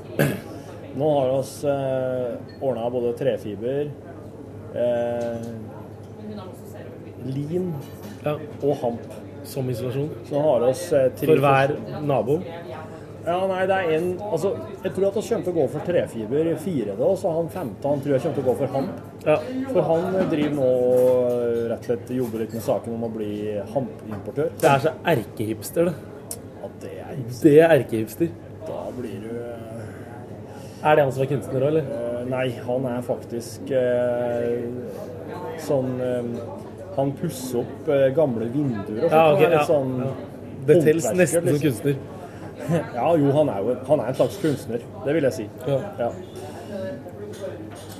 S2: Nå har vi eh, ordna både trefiber, eh, lin
S4: Ja.
S2: og hamp.
S4: Som isolasjon.
S2: Så nå har vi eh, tre
S4: For hver nabo.
S2: Ja, nei, det er en Altså, jeg tror at vi kommer til å gå for trefiber i fire, da, så han femte han tror jeg kommer til å gå for hamp.
S4: Ja.
S2: For han driver nå og rett og slett jobber litt med saken om å bli hampimportør.
S4: Det er så erkehipster, det.
S2: Ja, det er
S4: Det er erkehipster.
S2: Da blir du eh,
S4: Er det han som er kunstner òg, eller?
S2: Nei, han er faktisk eh, sånn eh, Han pusser opp eh, gamle vinduer og sånt.
S4: Ja, ok,
S2: han er
S4: ja,
S2: litt sånn
S4: ja. Det tels
S2: håndverker,
S4: nesten som
S2: liksom.
S4: kunstner.
S2: Ja, jo, han er jo han er en slags kunstner. Det vil jeg si.
S4: Ja.
S2: Ja.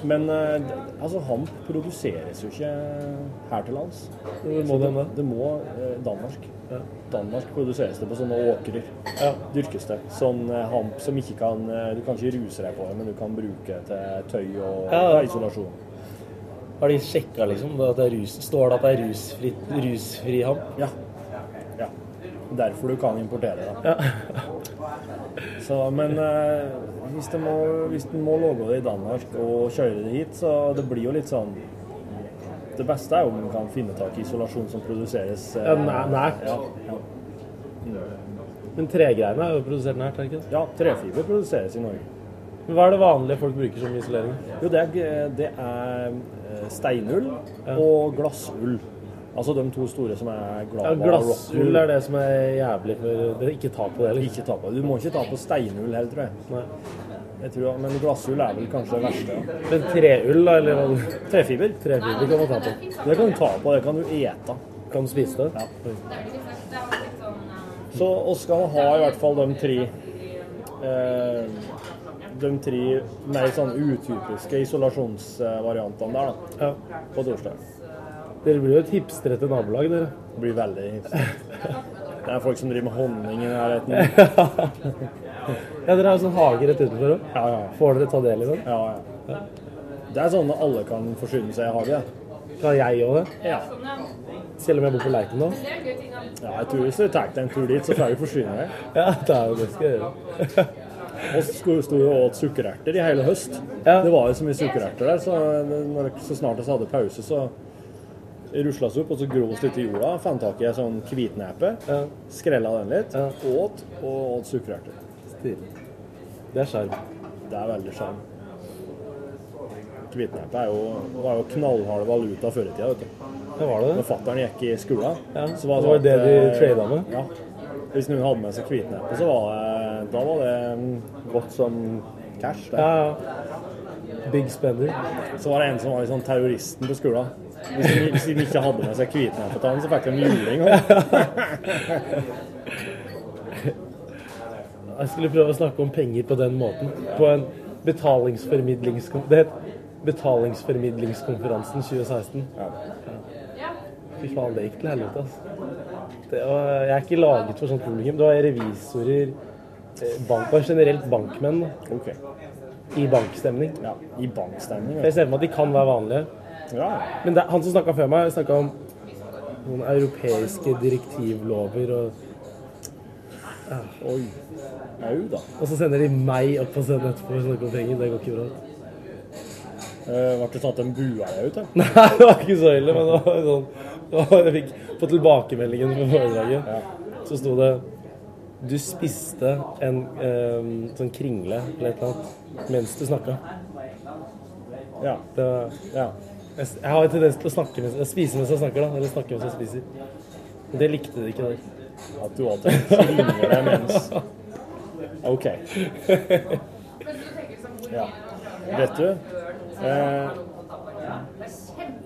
S2: Men eh, altså, han produseres jo ikke her til lands.
S4: Hvor må de det?
S2: Det må eh, Danmark.
S4: Ja.
S2: Danmark produseres det på sånne åkrer.
S4: Ja.
S2: Dyrkes det. Sånn eh, hamp som ikke kan eh, Du kan ikke ruse deg på det, men du kan bruke til tøy og
S4: Ja, ja.
S2: isolasjon.
S4: Har de sjekka, liksom? da At det er rus... Står det at det er rusfri, rusfri hamp?
S2: Ja. ja. Derfor du kan importere det. <laughs> så, men eh, hvis du må, hvis du må logge det i Danmark og kjøre det hit, så det blir jo litt sånn Det beste er jo om du kan finne tak i isolasjon som produseres eh,
S4: Ja, næ- nært.
S2: Ja, ja.
S4: Men tregreiene er jo produsert nært, er det ikke det?
S2: ja, trefiber produseres i Norge.
S4: Men Hva er det vanlige folk bruker som isolering?
S2: Jo, det er, g- det er eh, steinull og glassull. Altså de to store som er glava
S4: Ja,
S2: og
S4: Glassull
S2: rockull.
S4: er det som er jævlig for det er Ikke ta på det, eller?
S2: Ikke ta på. Du må ikke ta på steinull heller, tror jeg.
S4: Nei. Jeg tror, men glassull er vel kanskje det verste. ja.
S2: Men treull, da? Eller
S4: Trefiber.
S2: Trefiber kan man ta på.
S4: Det kan du ta på, det kan du ete.
S2: Kan du spise det? sånn, eh,
S4: Så vi skal ha i hvert fall de tre eh, De tre mer sånn utypiske isolasjonsvariantene der, da. På torsdag.
S2: Dere blir jo et hipstrete nabolag, dere.
S4: Blir veldig hipstrete. Det er folk som driver med honning i nærheten.
S2: <laughs> Ja, dere har jo sånn hage rett utenfor òg.
S4: Ja, ja.
S2: Får dere ta del i den?
S4: Ja, ja. Det er sånn at alle kan forsyne seg i hage.
S2: Kan jeg òg det?
S4: Ja.
S2: Selv om jeg bor på Lerkendal?
S4: ja, jeg tror hvis du tar deg en tur dit, så får du forsyne deg.
S2: Ja, det er jo det jeg skal gjøre.
S4: Vi sto sto jo og åt sukkererter i hele høst. Det var jo så mye sukkererter der, så når, så snart vi hadde pause, så rusla oss opp, og så grov oss litt i jorda. Fant tak i ei sånn hvitnepe, skrella den litt, åt, og åt sukkererter.
S2: Stilig. Det er sjarm.
S4: Det er veldig sjarm. Hvitnepe er jo, var jo knallhard valuta før i tida, vet du.
S2: Det var det.
S4: Når fatter'n gikk i skolen, så
S2: det var
S4: sånn
S2: det
S4: at,
S2: de
S4: eh,
S2: tradet med?
S4: Ja. Hvis noen hadde med seg hvitnepe, så var det, da var det mm, godt som cash. det.
S2: Ja, ja. Big spender.
S4: Så var det en som var liksom terroristen på skolen. Hvis de, hvis de ikke hadde med seg hvitnepetann, så fikk de juling.
S2: Jeg skulle prøve å snakke om penger på den måten. På en betalingsformidlingskonferanse. Det het Betalingsformidlingskonferansen 2016. Ja. Fy faen, det gikk til helvete, altså. Det var, jeg er ikke laget for sånt publikum. Det var revisorer eh, bank, var generelt bankmenn da.
S4: Ok.
S2: i bankstemning.
S4: I bankstemning.
S2: Jeg ser for meg at de kan være vanlige.
S4: Ja.
S2: Men det, han som snakka før meg, snakka om noen europeiske direktivlover og
S4: Oi. Au, da.
S2: Og så sender de meg opp på scenen etterpå og snakker om penger. Det går ikke bra.
S4: Eh, Ble det tatt en bua deg ut, da?
S2: Nei, det var ikke så ille, men det var sånn det var, Jeg fikk på tilbakemeldingen på foredraget, så sto det Du spiste en eh, sånn kringle eller et eller annet mens du snakka.
S4: Ja.
S2: Det var,
S4: ja.
S2: jeg, s- jeg har en tendens til å snakke mens, spise mens jeg snakker, da. Eller snakke mens jeg spiser. Det likte de ikke der.
S4: At du alltid ringer deg mens <laughs> OK. Ja. Vet du eh,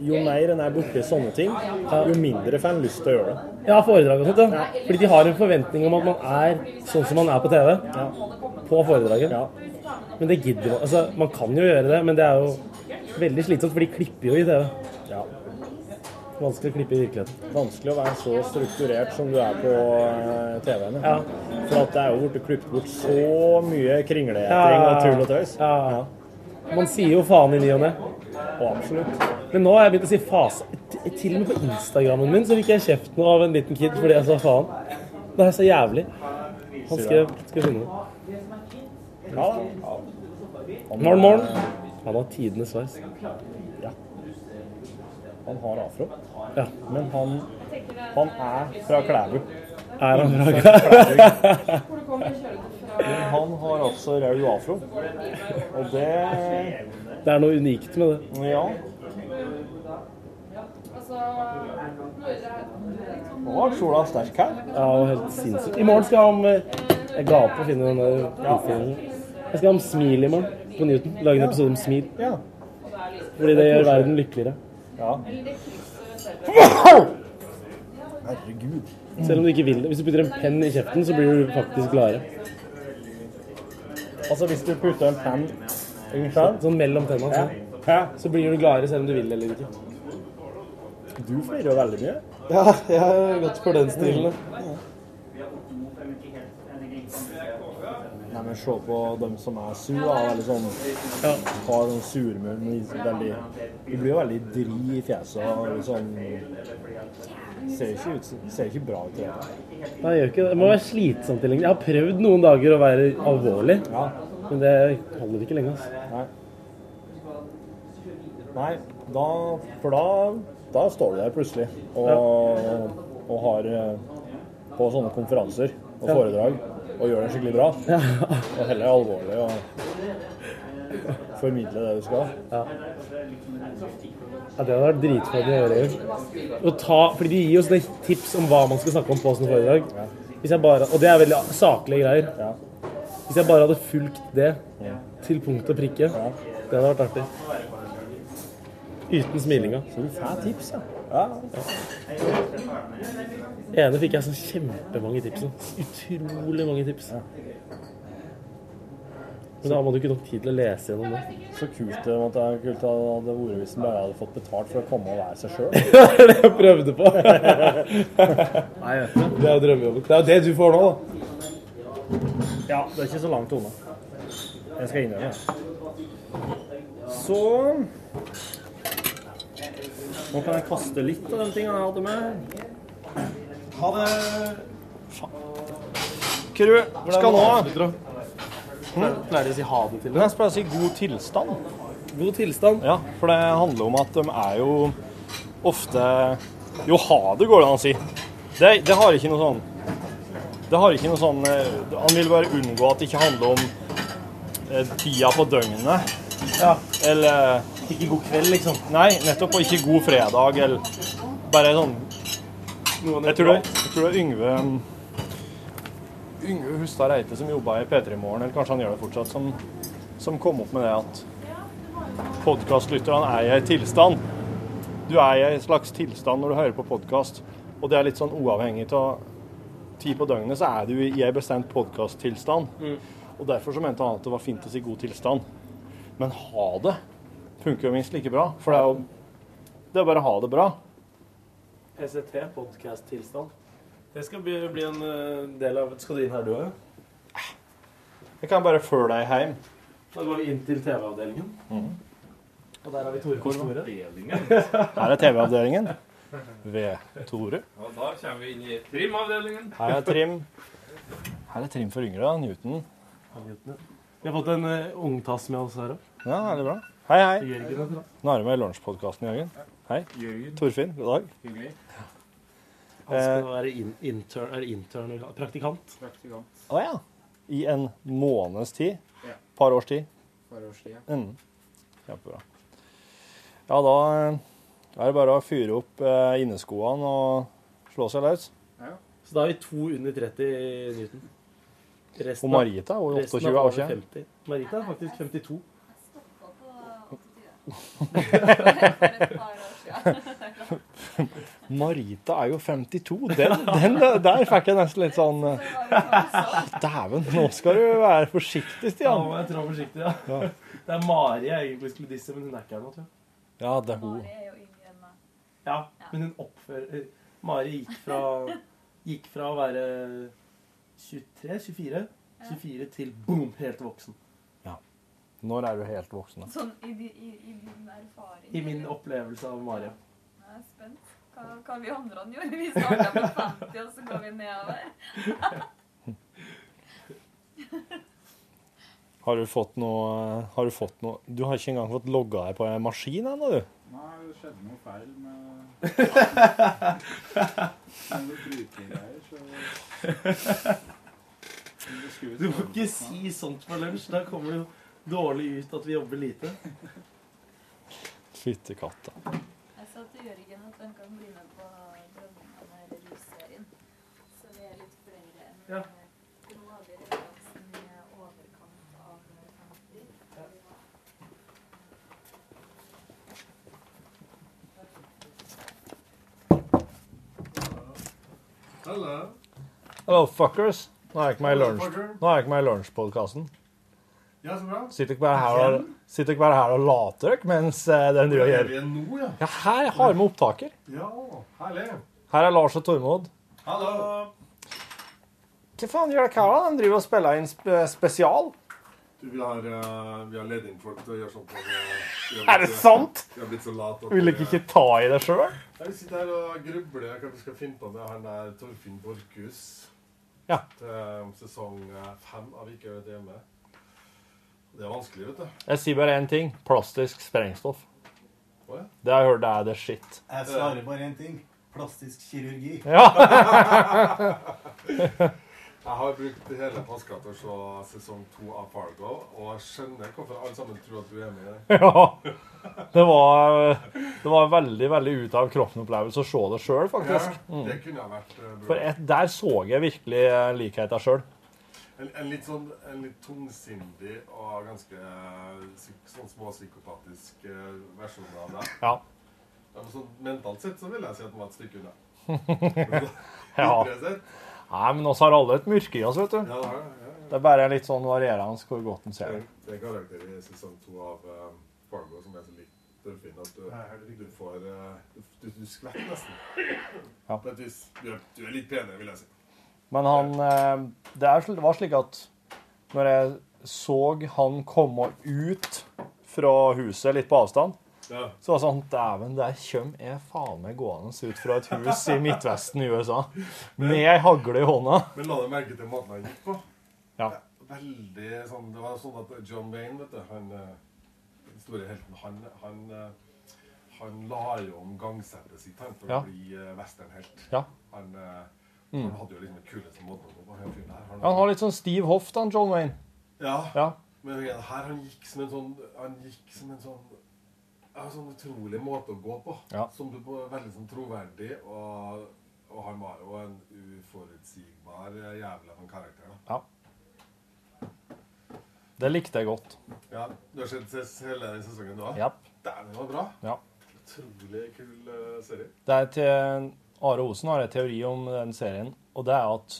S4: Jo mer en er borti sånne ting, jo mindre får en lyst til å gjøre det.
S2: Ja, foredrag og sånt, ja. Fordi de har en forventning om at man er sånn som man er på TV. På foredraget. Men det gidder man. Altså, man kan jo gjøre det, men det er jo veldig slitsomt, for de klipper jo i TV.
S4: Ja.
S2: Vanskelig å klippe i virkeligheten.
S4: vanskelig å være så strukturert som du er på eh, TV-en. ja. For at det er jo blitt klippet bort så mye kringleting og tull og tøys.
S2: Ja. Man sier jo faen i ny og ne.
S4: Og absolutt.
S2: Men nå har jeg begynt å si fase. T- Til og med på Instagrammen min så fikk jeg kjeft nå av en liten kid fordi jeg sa faen. Det er så jævlig. Han skrev Skal vi finne det.
S4: Ja da.
S2: Morgen, morgen. Han har tidenes sveis.
S4: Han har afro.
S2: Ja.
S4: Men han, han er fra Klæbu.
S2: Er han bra?
S4: Men han har også rød afro. Og det
S2: Det er noe unikt med det.
S4: Ja. Nå var sola sterk her.
S2: Ja, og helt sinnssykt. I morgen skal jeg ha om eh, Jeg ga opp å finne den der utstillingen. Jeg skal ha om smil i morgen på Newton. Lage en episode om smil.
S4: Ja.
S2: Fordi det gjør verden lykkeligere.
S4: ja.
S2: Selv om du ikke vil det. Hvis du putter en penn i kjeften, så blir du faktisk gladere.
S4: Altså, hvis du putter en penn Unnskyld?
S2: Sånn mellom tennene. Sånn.
S4: Hæ?
S2: Så blir du gladere selv om du vil det eller ikke.
S4: Du flirer jo veldig mye.
S2: Ja, jeg har gått for den stilen.
S4: Nei, men se på dem som er sur, da. Veldig sånn ja. Har sånn surmunn. Veldig Du blir jo veldig dri i fjeset og liksom Ser ikke ut Ser ikke bra ut i det hele tatt.
S2: Nei, jeg gjør ikke det. Det må være slitsomt i lengden. Jeg har prøvd noen dager å være alvorlig,
S4: Ja.
S2: men det holder ikke lenge. Altså.
S4: Nei. Nei, da For da Da står du der plutselig og, og har eh, På sånne konferanser og foredrag og gjør det skikkelig bra. Og heller alvorlig og formidle det du skal.
S2: Ja, det hadde vært dritfett å gjøre. Å ta, fordi de gir oss det tips om hva man skal snakke om på sånne foredrag. Hvis jeg bare, og det er veldig saklige greier.
S4: Ja.
S2: Hvis jeg bare hadde fulgt det til punkt og prikke, det hadde vært artig. Uten smilinga.
S4: Så du får tips, ja. ja.
S2: Ene fikk jeg så kjempemange tips. nå. Utrolig mange tips. Men da hadde man jo ikke nok tid til å lese gjennom det.
S4: Så kult eh, det måtte være kult det hadde vært hvis en bare hadde fått betalt for å komme og være seg sjøl.
S2: Det var det jeg prøvde på.
S4: Nei, jeg vet ikke.
S2: Det er drømmejobben. Det er jo det du får nå, da.
S4: Ja, det er ikke så langt unna. Jeg skal innrømme det. Så Nå kan jeg kaste litt av den tingen jeg hadde med. Ha det. Kru, skal nå
S2: Pleier de å si ha det til
S4: Men jeg pleier å si god tilstand.
S2: God tilstand?
S4: Ja, for det handler om at de er jo ofte Jo, ha det, går det an å si. Det, det har ikke noe sånn Det har ikke noe sånn eh, Han vil bare unngå at det ikke handler om eh, tida på døgnet.
S2: Ja.
S4: Eller
S2: Ikke god kveld, liksom.
S4: Nei, nettopp. Og ikke god fredag, eller bare sånn jeg tror, det, jeg tror det er Yngve mm, Yngve Hustad Reite som jobba i P3 Morgen, eller kanskje han gjør det fortsatt, som, som kom opp med det at podkastlytterne er i en tilstand. Du er i en slags tilstand når du hører på podkast, og det er litt sånn uavhengig av tid på døgnet, så er du i en bestemt podkasttilstand.
S2: Mm.
S4: Og derfor så mente han at det var fint å si god tilstand. Men ha det funker jo minst like bra, for det er jo det er bare å ha det bra.
S2: PC3, podcast-tilstand. Det skal bli, bli en eh, del av Skal du inn her, du òg?
S4: Jeg kan bare følge deg hjem. Mm.
S2: Da går vi inn til TV-avdelingen. Og der har vi Tore Kåre.
S4: Her er TV-avdelingen ved Tore.
S12: Og da kommer vi inn i trimavdelingen.
S4: Her er Trim. Her er Trim for yngre, Newton.
S2: Vi har fått en eh, ungtass med oss her òg.
S4: Ja, veldig bra. Hei, hei.
S2: Jørgen heter han.
S4: Nå er du med i lunsjpodkasten, Jørgen. Hei.
S2: Jørgen.
S4: Torfinn, god dag.
S2: Hyggelig. Han skal være in intern, er det intern eller praktikant.
S12: Praktikant.
S4: Å ja. I en måneds tid.
S12: Ja.
S4: Par års tid.
S12: Par års tid, ja.
S4: Mm. Kjempebra. Ja, da eh, er det bare å fyre opp eh, inneskoene og slå seg løs.
S2: Så da har vi to under 30 i Newton. Resten
S4: Og Marita er jo 28 år
S2: over
S4: siden.
S2: 50. Marita er faktisk 52.
S4: Marita er jo 52. Den, <laughs> den der- der fikk jeg nesten litt sånn eh,
S8: sånn.
S2: <laughs>
S4: Dæven, nå skal du være forsiktig,
S2: Ja, nå må
S4: Stian.
S2: jeg trå forsiktig, ja. <laughs> Det er Mari jeg egentlig skulle disse, men hun er ikke her nå, tror jeg.
S4: Ja, det er hun.
S2: Ja, men hun oppfører eh, Mari gikk fra, gikk fra å være 23-24 24 til boom, helt voksen.
S4: Når er du helt voksen? da?
S8: Sånn i, di- i, i din erfaring.
S2: I min opplevelse av Mari.
S8: Jeg er spent. Hva, hva vi andre gjorde. Vi starta på 50, og så går vi nedover.
S4: Har du fått noe eh, Har du fått noe Du har ikke engang fått logga deg på en maskin ennå, du?
S13: Nei, det skjedde noe feil med
S2: <laughs>
S13: Med brytegreier, så
S2: Du må ikke si sånt på lunsj. Da kommer det jo dårlig ut at vi jobber lite.
S4: <laughs> Fytti katta.
S8: Jeg sa til Jørgen at han kan bli med på Drømmene eller Lysserien. Så vi er litt flere enn
S2: Ja.
S8: Roald Eriksen i overkant av 50.
S5: Hallo.
S4: Hello, fuckers. Nå er jeg ikke med i
S5: Hello,
S4: lunsj.
S5: fucker.
S4: Nå er jeg ikke med i lunsjpodkasten.
S5: Ja, så bra.
S4: Sitter ikke bare her og, sitter ikke bare her og later dere mens eh, den driver og
S5: er
S4: gjør
S5: vi igjen nå, ja.
S4: Ja, her har vi opptaker.
S5: Ja, herlig.
S4: Her er Lars og Tormod.
S5: Hallo.
S4: Hva faen gjør dere her, da? De driver og spiller inn sp- eh, spesial.
S5: Du, vi har, uh, vi har leid inn folk til å gjøre sånt. på, eh, vi har
S4: Er
S5: blitt
S4: det
S5: så-
S4: sant?
S5: Vi har blitt så late. at
S4: Vil
S5: vi-
S4: dere ikke ta i det sjøl?
S5: Ja, Vi sitter her og grubler hva vi skal finne på med han der Torfinn Borchhus.
S4: Ja.
S5: Til sesong eh, fem av Ikke gjør det hjemme. Det er vanskelig, vet du.
S4: Jeg sier bare én ting. Plastisk sprengstoff.
S5: Å, ja.
S4: Det har jeg hørt det er the shit.
S13: Jeg svarer bare én ting. Plastisk kirurgi.
S5: jeg har brukt hele påska til å se sesong to av Fargo, og jeg skjønner hvorfor alle sammen tror at du er med i det.
S4: <laughs> Ja. Det var, det var en veldig veldig ut av kroppen-opplevelse å se det sjøl, faktisk.
S5: Ja,
S4: Mm.
S5: det kunne ha vært eh, bra.
S4: For et, der så jeg virkelig eh, likheten sjøl.
S5: En, en litt sånn en litt tungsindig og ganske eh, psyk- sånn småpsykopatisk eh, versjon av det.
S4: Ja.
S5: Ja, men Sånn, mentalt sett så vil jeg si at den var et stykke unna.
S4: ja.
S5: Ytre sett.
S4: Nei, men oss har alle et mørke i oss, vet du.
S5: Ja, ja, ja,
S4: Det er bare litt sånn varierende hvor godt en ser det.
S5: Det er en karakter i sesong to av eh, Fargo som er så lik Delfin at du, du får eh, Du, du skvetter nesten.
S4: Ja.
S5: På et vis. Du er, du er litt penere, vil jeg si.
S4: Men han eh, Det er, sl- det var slik at når jeg så han komme ut fra huset litt på avstand,
S5: Ja.
S4: så var det sånn Dæven, der kommer jeg faen meg gående ut fra et hus i Midtvesten i USA med ei hagle i hånda.
S5: Men la deg merke til måten han gikk på.
S4: Ja.
S5: Veldig sånn, Det var sånn at John Wayne, vet du, han eh, den store helten, han, han, eh, han la jo om gangsettet sitt han, for
S4: Ja.
S5: å bli eh, westernhelt.
S4: Ja.
S5: Han, eh,
S4: Mm.
S5: han hadde jo liksom den kuleste måten å gå på. Han fyren her.
S4: Han har litt sånn stiv hoft, han John Wayne.
S5: Ja.
S4: Ja.
S5: Men her, han gikk som en sånn Han gikk som en sånn ja, sånn utrolig måte å gå på.
S4: Ja.
S5: Som du på veldig sånn troverdig. Og, og han var jo en uforutsigbar eh, jævla sånn karakter. da.
S4: Ja. Det likte jeg godt.
S5: Ja, Du har sett ses- hele den sesongen du har?
S4: Japp.
S5: Dæven, det var bra.
S4: Ja.
S5: Utrolig kul eh, serie.
S4: Det er til Are Osen har en teori om den serien, og det er at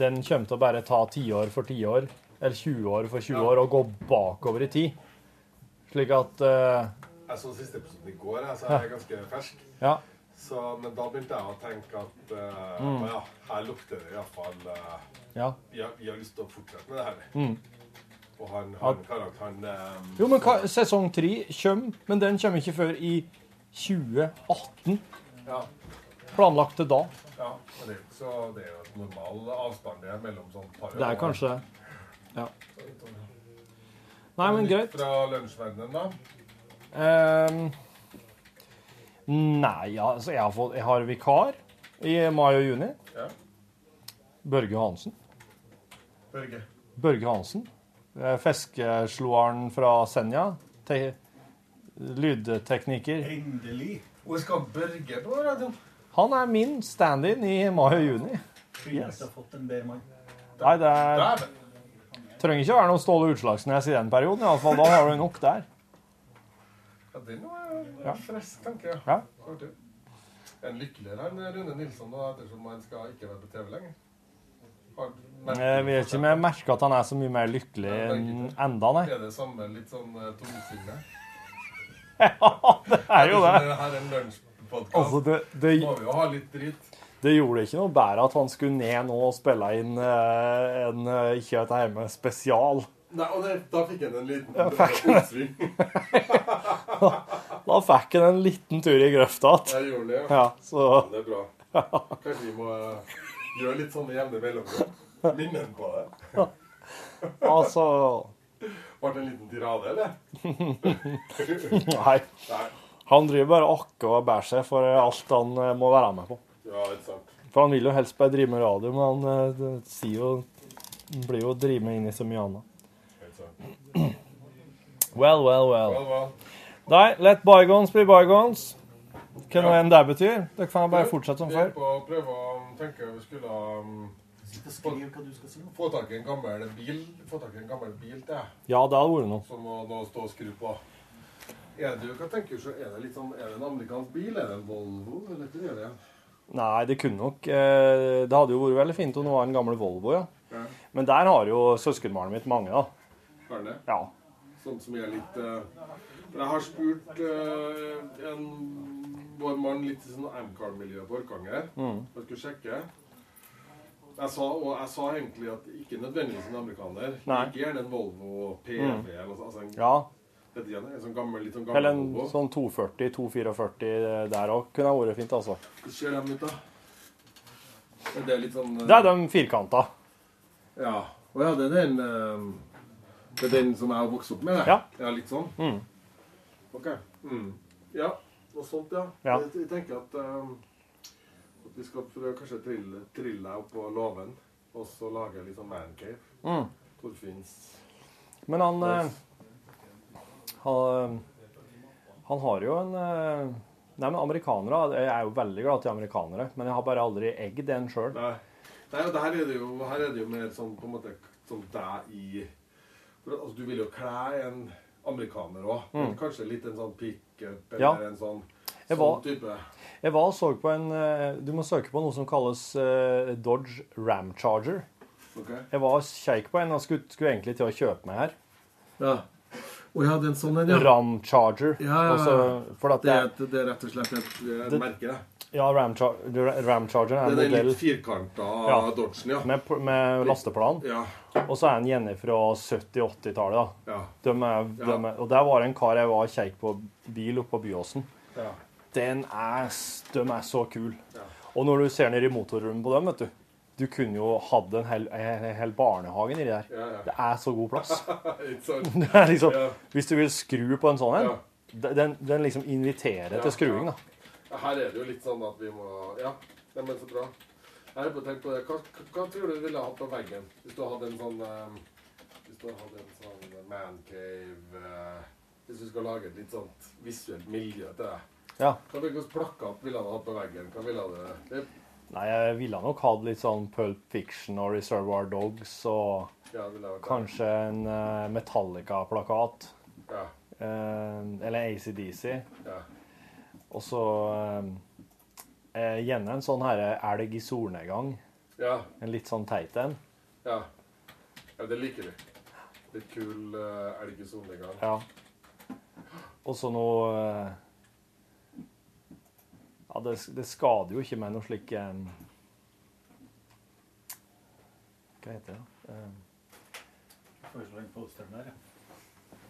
S4: den kommer til å bare ta tiår for tiår, eller 20 år for 20 år, og gå bakover i tid. Slik at eh,
S5: Jeg så siste episoden i går, jeg, så
S4: Ja.
S5: jeg er ganske fersk.
S4: Ja.
S5: Så, men da begynte jeg å tenke at eh,
S4: Mm.
S5: ja, her lukter det iallfall uh,
S4: Ja.
S5: vi, har- vi har lyst til å fortsette med det her.
S4: Mm.
S5: Og han,
S4: Ja.
S5: han karakteren eh,
S4: Jo, men hva- sesong tre kommer, men den kommer ikke før i 2018.
S5: Ja.
S4: Planlagt til da.
S5: ja, og det, er jo ikke så det er jo et normal avstand det er mellom sånn par
S4: Det er kanskje Ja. Nei, men greit.
S5: Fra lunsjverdenen, da.
S4: Ehm, nei, ja, altså jeg har, fått, jeg har vikar i mai og juni.
S5: Ja.
S4: Børge Hansen.
S5: Børge.
S4: Børge Hansen. eh, Fiskesloaren fra Senja. Te lydtekniker.
S5: Endelig. Hvor skal Børge på radioen?
S4: Han er min stand-in i mai og juni.
S10: Kunne ikke ha fått en bedre mann.
S4: Nei, det er Trenger ikke å være noe Ståle Utslagsnes i den perioden. i alle fall. Da har du nok der.
S5: Ja, den var en
S4: Ja.
S5: frisk tanke.
S4: Ja.
S5: Artig. En lykkeligere enn Rune Nilsson, da, ettersom han skal ikke være på TV lenger. Har du merket-
S4: Jeg vet Eh, ikke om jeg merker at han er så mye mer lykkelig enn enda, nei.
S5: Er det samme litt sånn eh, tungsinne? <laughs>
S4: Ja, det er jo det.
S5: Det her er en lunsjpodkast.
S4: Altså, det, det,
S5: Må vi jo ha litt drit.
S4: det gjorde ikke noe bedre at han skulle ned nå og spille inn eh, en eh, Ikke dette hjemme spesial.
S5: Nei, og det, da fikk jeg en liten
S4: Ja, fikk han
S5: <laughs>
S4: det.
S5: oppsving.
S4: Da fikk han en liten tur i grøfta
S5: Jeg gjorde det,
S4: ja. så-
S5: Det er bra. Kanskje vi må eh, gjøre litt sånn med jevne mellomrom. Minne den på det.
S4: Altså
S5: Var det en liten tirade, eller?
S4: Nei.
S5: Nei.
S4: Han driver bare og akker og bærer seg for alt han eh, må være med på.
S5: Ja, ikke sant.
S4: For han vil jo helst bare drive med radio, men han eh, det sier jo Han blir jo drevet med inn i så mye annet.
S5: Helt sant.
S4: Well, well, well.
S5: Well, well.
S4: Nei, let bygones be bygones. Hva nå enn det betyr. Dere kan bare fortsette som
S5: Vi
S4: før.
S5: er på å prøve å tenke vi skulle um, få, få tak i en gammel bil Få tak i en gammel bil til jeg,
S4: Ja, det hadde vært noe.
S5: som må nå stå og skru på. Er det, hva tenker du, så er det litt sånn, er det en amerikansk bil? Er det en Volvo? Eller hva er det?
S4: Nei, det kunne nok eh, Det hadde jo vært veldig fint om det var en gammel Volvo, ja.
S5: Ja.
S4: Men der har jo søskenbarnet mitt mange, da.
S5: Er det?
S4: Ja.
S5: Sånn som er litt eh, for Jeg har spurt eh, en, vår mann litt i sånn Amcar-miljøet på Orkanger.
S4: Mm.
S5: Jeg skulle sjekke. Jeg sa, og jeg sa egentlig at ikke nødvendigvis en amerikaner.
S4: Nei.
S5: Ikke gjerne en Volvo PV
S4: Mm.
S5: eller noe sånt. Altså en,
S4: Ja.
S5: vet ikke, en sånn gammel, litt sånn gammel
S4: Eller en
S5: Volvo.
S4: sånn 240-244 der òg kunne ha vært fint, altså.
S5: Hvordan ser de ut, da? Men det er litt sånn eh,
S4: Det er de firkanta.
S5: Ja. Å ja, det er den eh, Det er den som jeg har vokst opp med? det.
S4: Ja.
S5: ja litt sånn?
S4: Mm.
S5: Ok. Mm. Ja, noe sånt, ja.
S4: Ja.
S5: Jeg, jeg tenker at, eh, at vi skal prøve kanskje å trille, trille deg opp på låven, og så lage litt sånn mancave.
S4: Mm.
S5: Torfinns
S4: Men han eh, han, eh, han har jo en eh, Nei, men amerikanere Jeg er jo veldig glad til amerikanere, men jeg har bare aldri egg den sjøl.
S5: Nei, og det her er det jo, her er det jo mer sånn på en måte som deg i for, at, altså, Du vil jo kle en amerikaner òg.
S4: Mm.
S5: Kanskje litt en sånn pickup eller
S4: Ja.
S5: en sånn,
S4: Jeg
S5: sånn
S4: var-
S5: type.
S4: Jeg var og så på en eh, Du må søke på noe som kalles eh, Dodge Ram Charger.
S5: Ok.
S4: Jeg var og kjekk på en og skulle, skulle egentlig til å kjøpe meg her.
S5: Ja. Å ja, den sånn en, ja.
S4: Ram Charger.
S5: Ja, ja, ja.
S4: Altså, for at
S5: det,
S4: det,
S5: er et- det er rett og slett et det er
S4: Det-
S5: et merke, det.
S4: ja, Ram, Char Ram Charger er en
S5: Den er
S4: modell
S5: litt firkanta
S4: Ja.
S5: Dodgen, ja.
S4: med, med lasteplan. Og så er den gjerne fra 70-80-tallet. da.
S5: Ja.
S4: De er, de
S5: Ja.
S4: er, og der var det en kar jeg var og kjekk på bil oppe på Byåsen.
S5: Ja.
S4: Den er, s- de er så kul. Og når du ser ned i motorrommet på dem, vet du Du kunne jo hatt en hel, en hel barnehage nedi der.
S5: Ja, ja.
S4: Det er så god
S5: <laughs>
S4: plass.
S5: Ikke sant?
S4: Det er liksom, Hvis du vil skru på en sånn en, den, den liksom inviterer
S5: Ja,
S4: til skruing, da.
S5: Her er det jo litt sånn at vi må Ja, nei, men så bra. Jeg har på å tenke på det. Hva, hva- hva tror du du ville hatt på veggen hvis du hadde en sånn eh, Hvis du hadde en sånn mancave eh, Hvis du skal lage et litt sånt visuelt miljø til deg?
S4: Ja.
S5: Hva Hvilken plakat ville du hatt på veggen? Hva ville du det,
S4: Nei, jeg ville nok hatt litt sånn Pulp Fiction og Reservoir Dogs og
S5: Ja, det ville vært det.
S4: kanskje en eh, Metallica-plakat.
S5: Ja.
S4: Eh, eller ACDC.
S5: Ja.
S4: Og så eh, eh, gjerne en sånn herre elg i solnedgang.
S5: Ja.
S4: En litt sånn teit en.
S5: Ja. ja, det liker vi. Litt kul uh, elg i solnedgang.
S4: Ja. Og så noe eh, Ja, det, det skader jo ikke med noe slik eh, Hva heter det? da? Eh,
S10: Foreslår en posteren der, ja.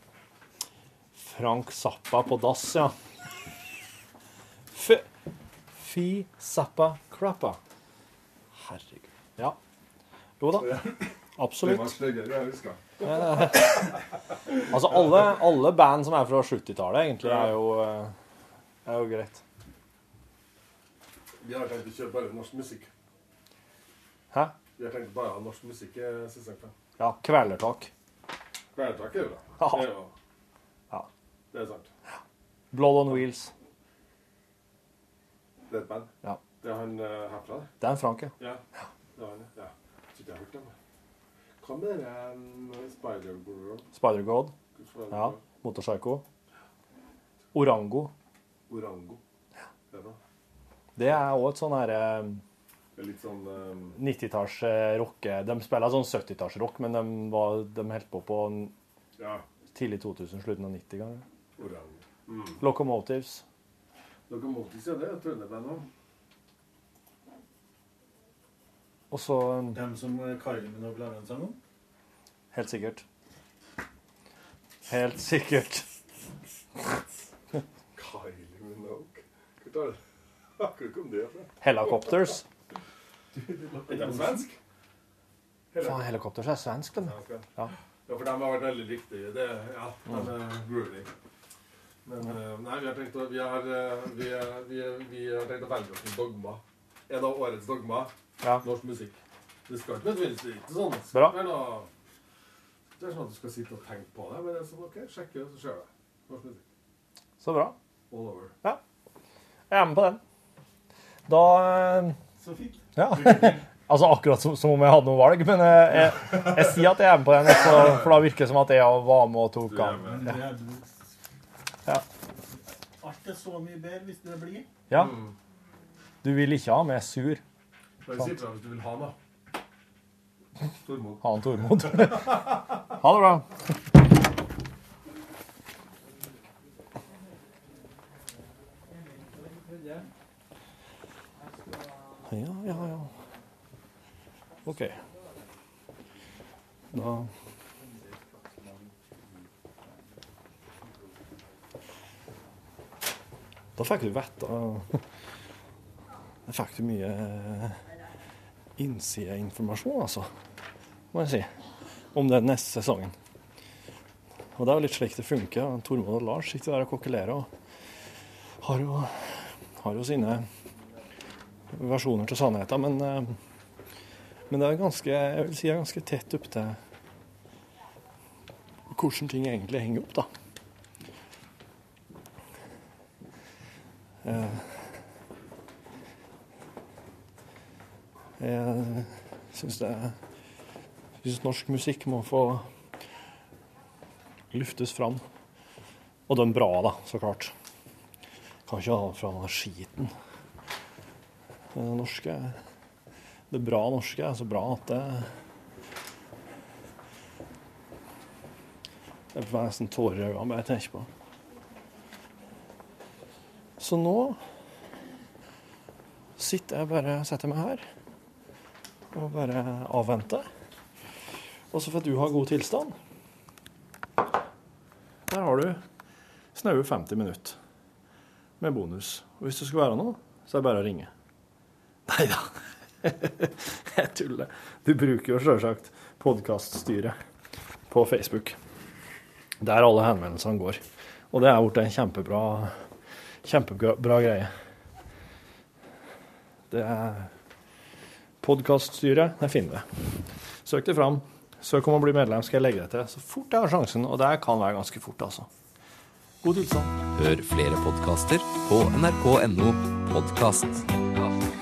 S4: Frank Zappa på dass, ja. Fy, fy Zappa Crappa. Herregud. Ja. Jo da.
S5: Det var
S4: Absolutt.
S5: styggere, jeg husker.
S4: Eh, altså, alle, alle band som er fra 70-tallet, egentlig, er jo, eh, er jo greit.
S5: Vi har tenkt å kjøre bare norsk musikk.
S4: Hæ?
S5: Vi har tenkt bare å ha norsk musikk. eh, sesongen.
S4: Ja, Kvelertak.
S5: Kvelertak er jo bra.
S4: Ja.
S5: Det er jo
S4: Ja.
S5: Det er sant.
S4: Blood on Wheels.
S5: Det er et band.
S4: Ja.
S5: Det er han eh, herfra, det.
S4: Det er en Frank, ja.
S5: Ja. Det er han, ja. ja. Tror ikke jeg har hørt dem. Hva med det um, Spider-Girl?
S4: Spider-God.
S5: Spider-Girl.
S4: Ja. Motorpsycho. Orango.
S5: Orango. Det er bra.
S4: Det er òg et sånn herre
S5: Det er litt sånn um,
S4: 90-talls eh, rocke... De spiller sånn 70-talls rock, men de, var, de holdt på på en-
S5: Ja.
S4: tidlig 2000, slutten av 90 ganger.
S5: Orango. Mm.
S4: Locomotives.
S5: Dere må ikke si det. Jeg tror det er band òg.
S4: Og så eh,
S10: Dem som Karlmen og Blaren sang om?
S4: Helt sikkert. Helt sikkert.
S5: Kylie Minogue. Hvor tar det? <laughs> Akkurat kom det fra?
S4: Helicopters.
S5: Er de svensk?
S4: Faen, Helicopters er svensk, de. Ja.
S5: Ja, for de har vært veldig viktige. Det, ja, de er
S4: Mm.
S5: groovy. Men eh, nei, vi har tenkt å, vi har, eh, vi, er- vi, er- vi har tenkt å velge oss en dogma. En av årets dogma.
S4: Ja.
S5: Norsk musikk. Det skal ikke nødvendigvis det er ikke sånn.
S4: Bra.
S5: Det er noe- det er sånn at du skal sitte og tenke på det, men det er sånn, ok, sjekke, så ser du. Norsk musikk.
S4: Så bra.
S5: All over.
S4: Ja. Jeg er med på den. Da eh,
S10: Så fint.
S4: Ja. <laughs> Altså akkurat som, som om jeg hadde noe valg, men eh, jeg, jeg sier at jeg er med på den, så, for da virker det som at jeg var med og tok
S10: Men
S4: den.
S10: det er,
S4: Ja. Ja.
S10: alt er så mye bedre hvis det blir. Mm.
S4: ja. Du vil ikke ha meg sur.
S5: Bare si fra hvis du vil ha noe. Stormod.
S4: Ha en Tormod. <laughs> ha det bra. Ja, ja, ja. OK. Da Da fikk du vite Da fikk du mye eh, innsideinformasjon, altså, må jeg si, om den neste sesongen. Og det er jo litt slik det funker. Tormod og Lars sitter der og kokkelerer og har jo, har jo sine versjoner til sannheten, men, eh, men det er ganske, jeg vil si det er ganske tett opp til hvordan ting egentlig henger opp, da. Eh, Jeg syns det er Jeg syns norsk musikk må få luftes fram. Og den bra, da, så klart. Kan ikke ha fra den skiten. Det norske Det bra norske er så bra at det Jeg får nesten tårer i øynene bare jeg tenker på det. Så nå sitter jeg bare setter meg her og bare avventer. Og så får du ha god tilstand. Der har du snaue 50 minutter med bonus. Og hvis det skulle være noe, så er det bare å ringe. Nei da. <laughs> Jeg tuller. Du bruker jo sjølsagt podkaststyret på Facebook. Der alle henvendelsene går. Og det er blitt en kjempebra, kjempebra greie. Det er podkaststyret. Jeg finner det. Søk det fram. Søk om å bli medlem, skal jeg legge det til så fort jeg har sjansen. Og det kan være ganske fort, altså. God tilstand.
S7: Hør flere podkaster på nrk.no podkast.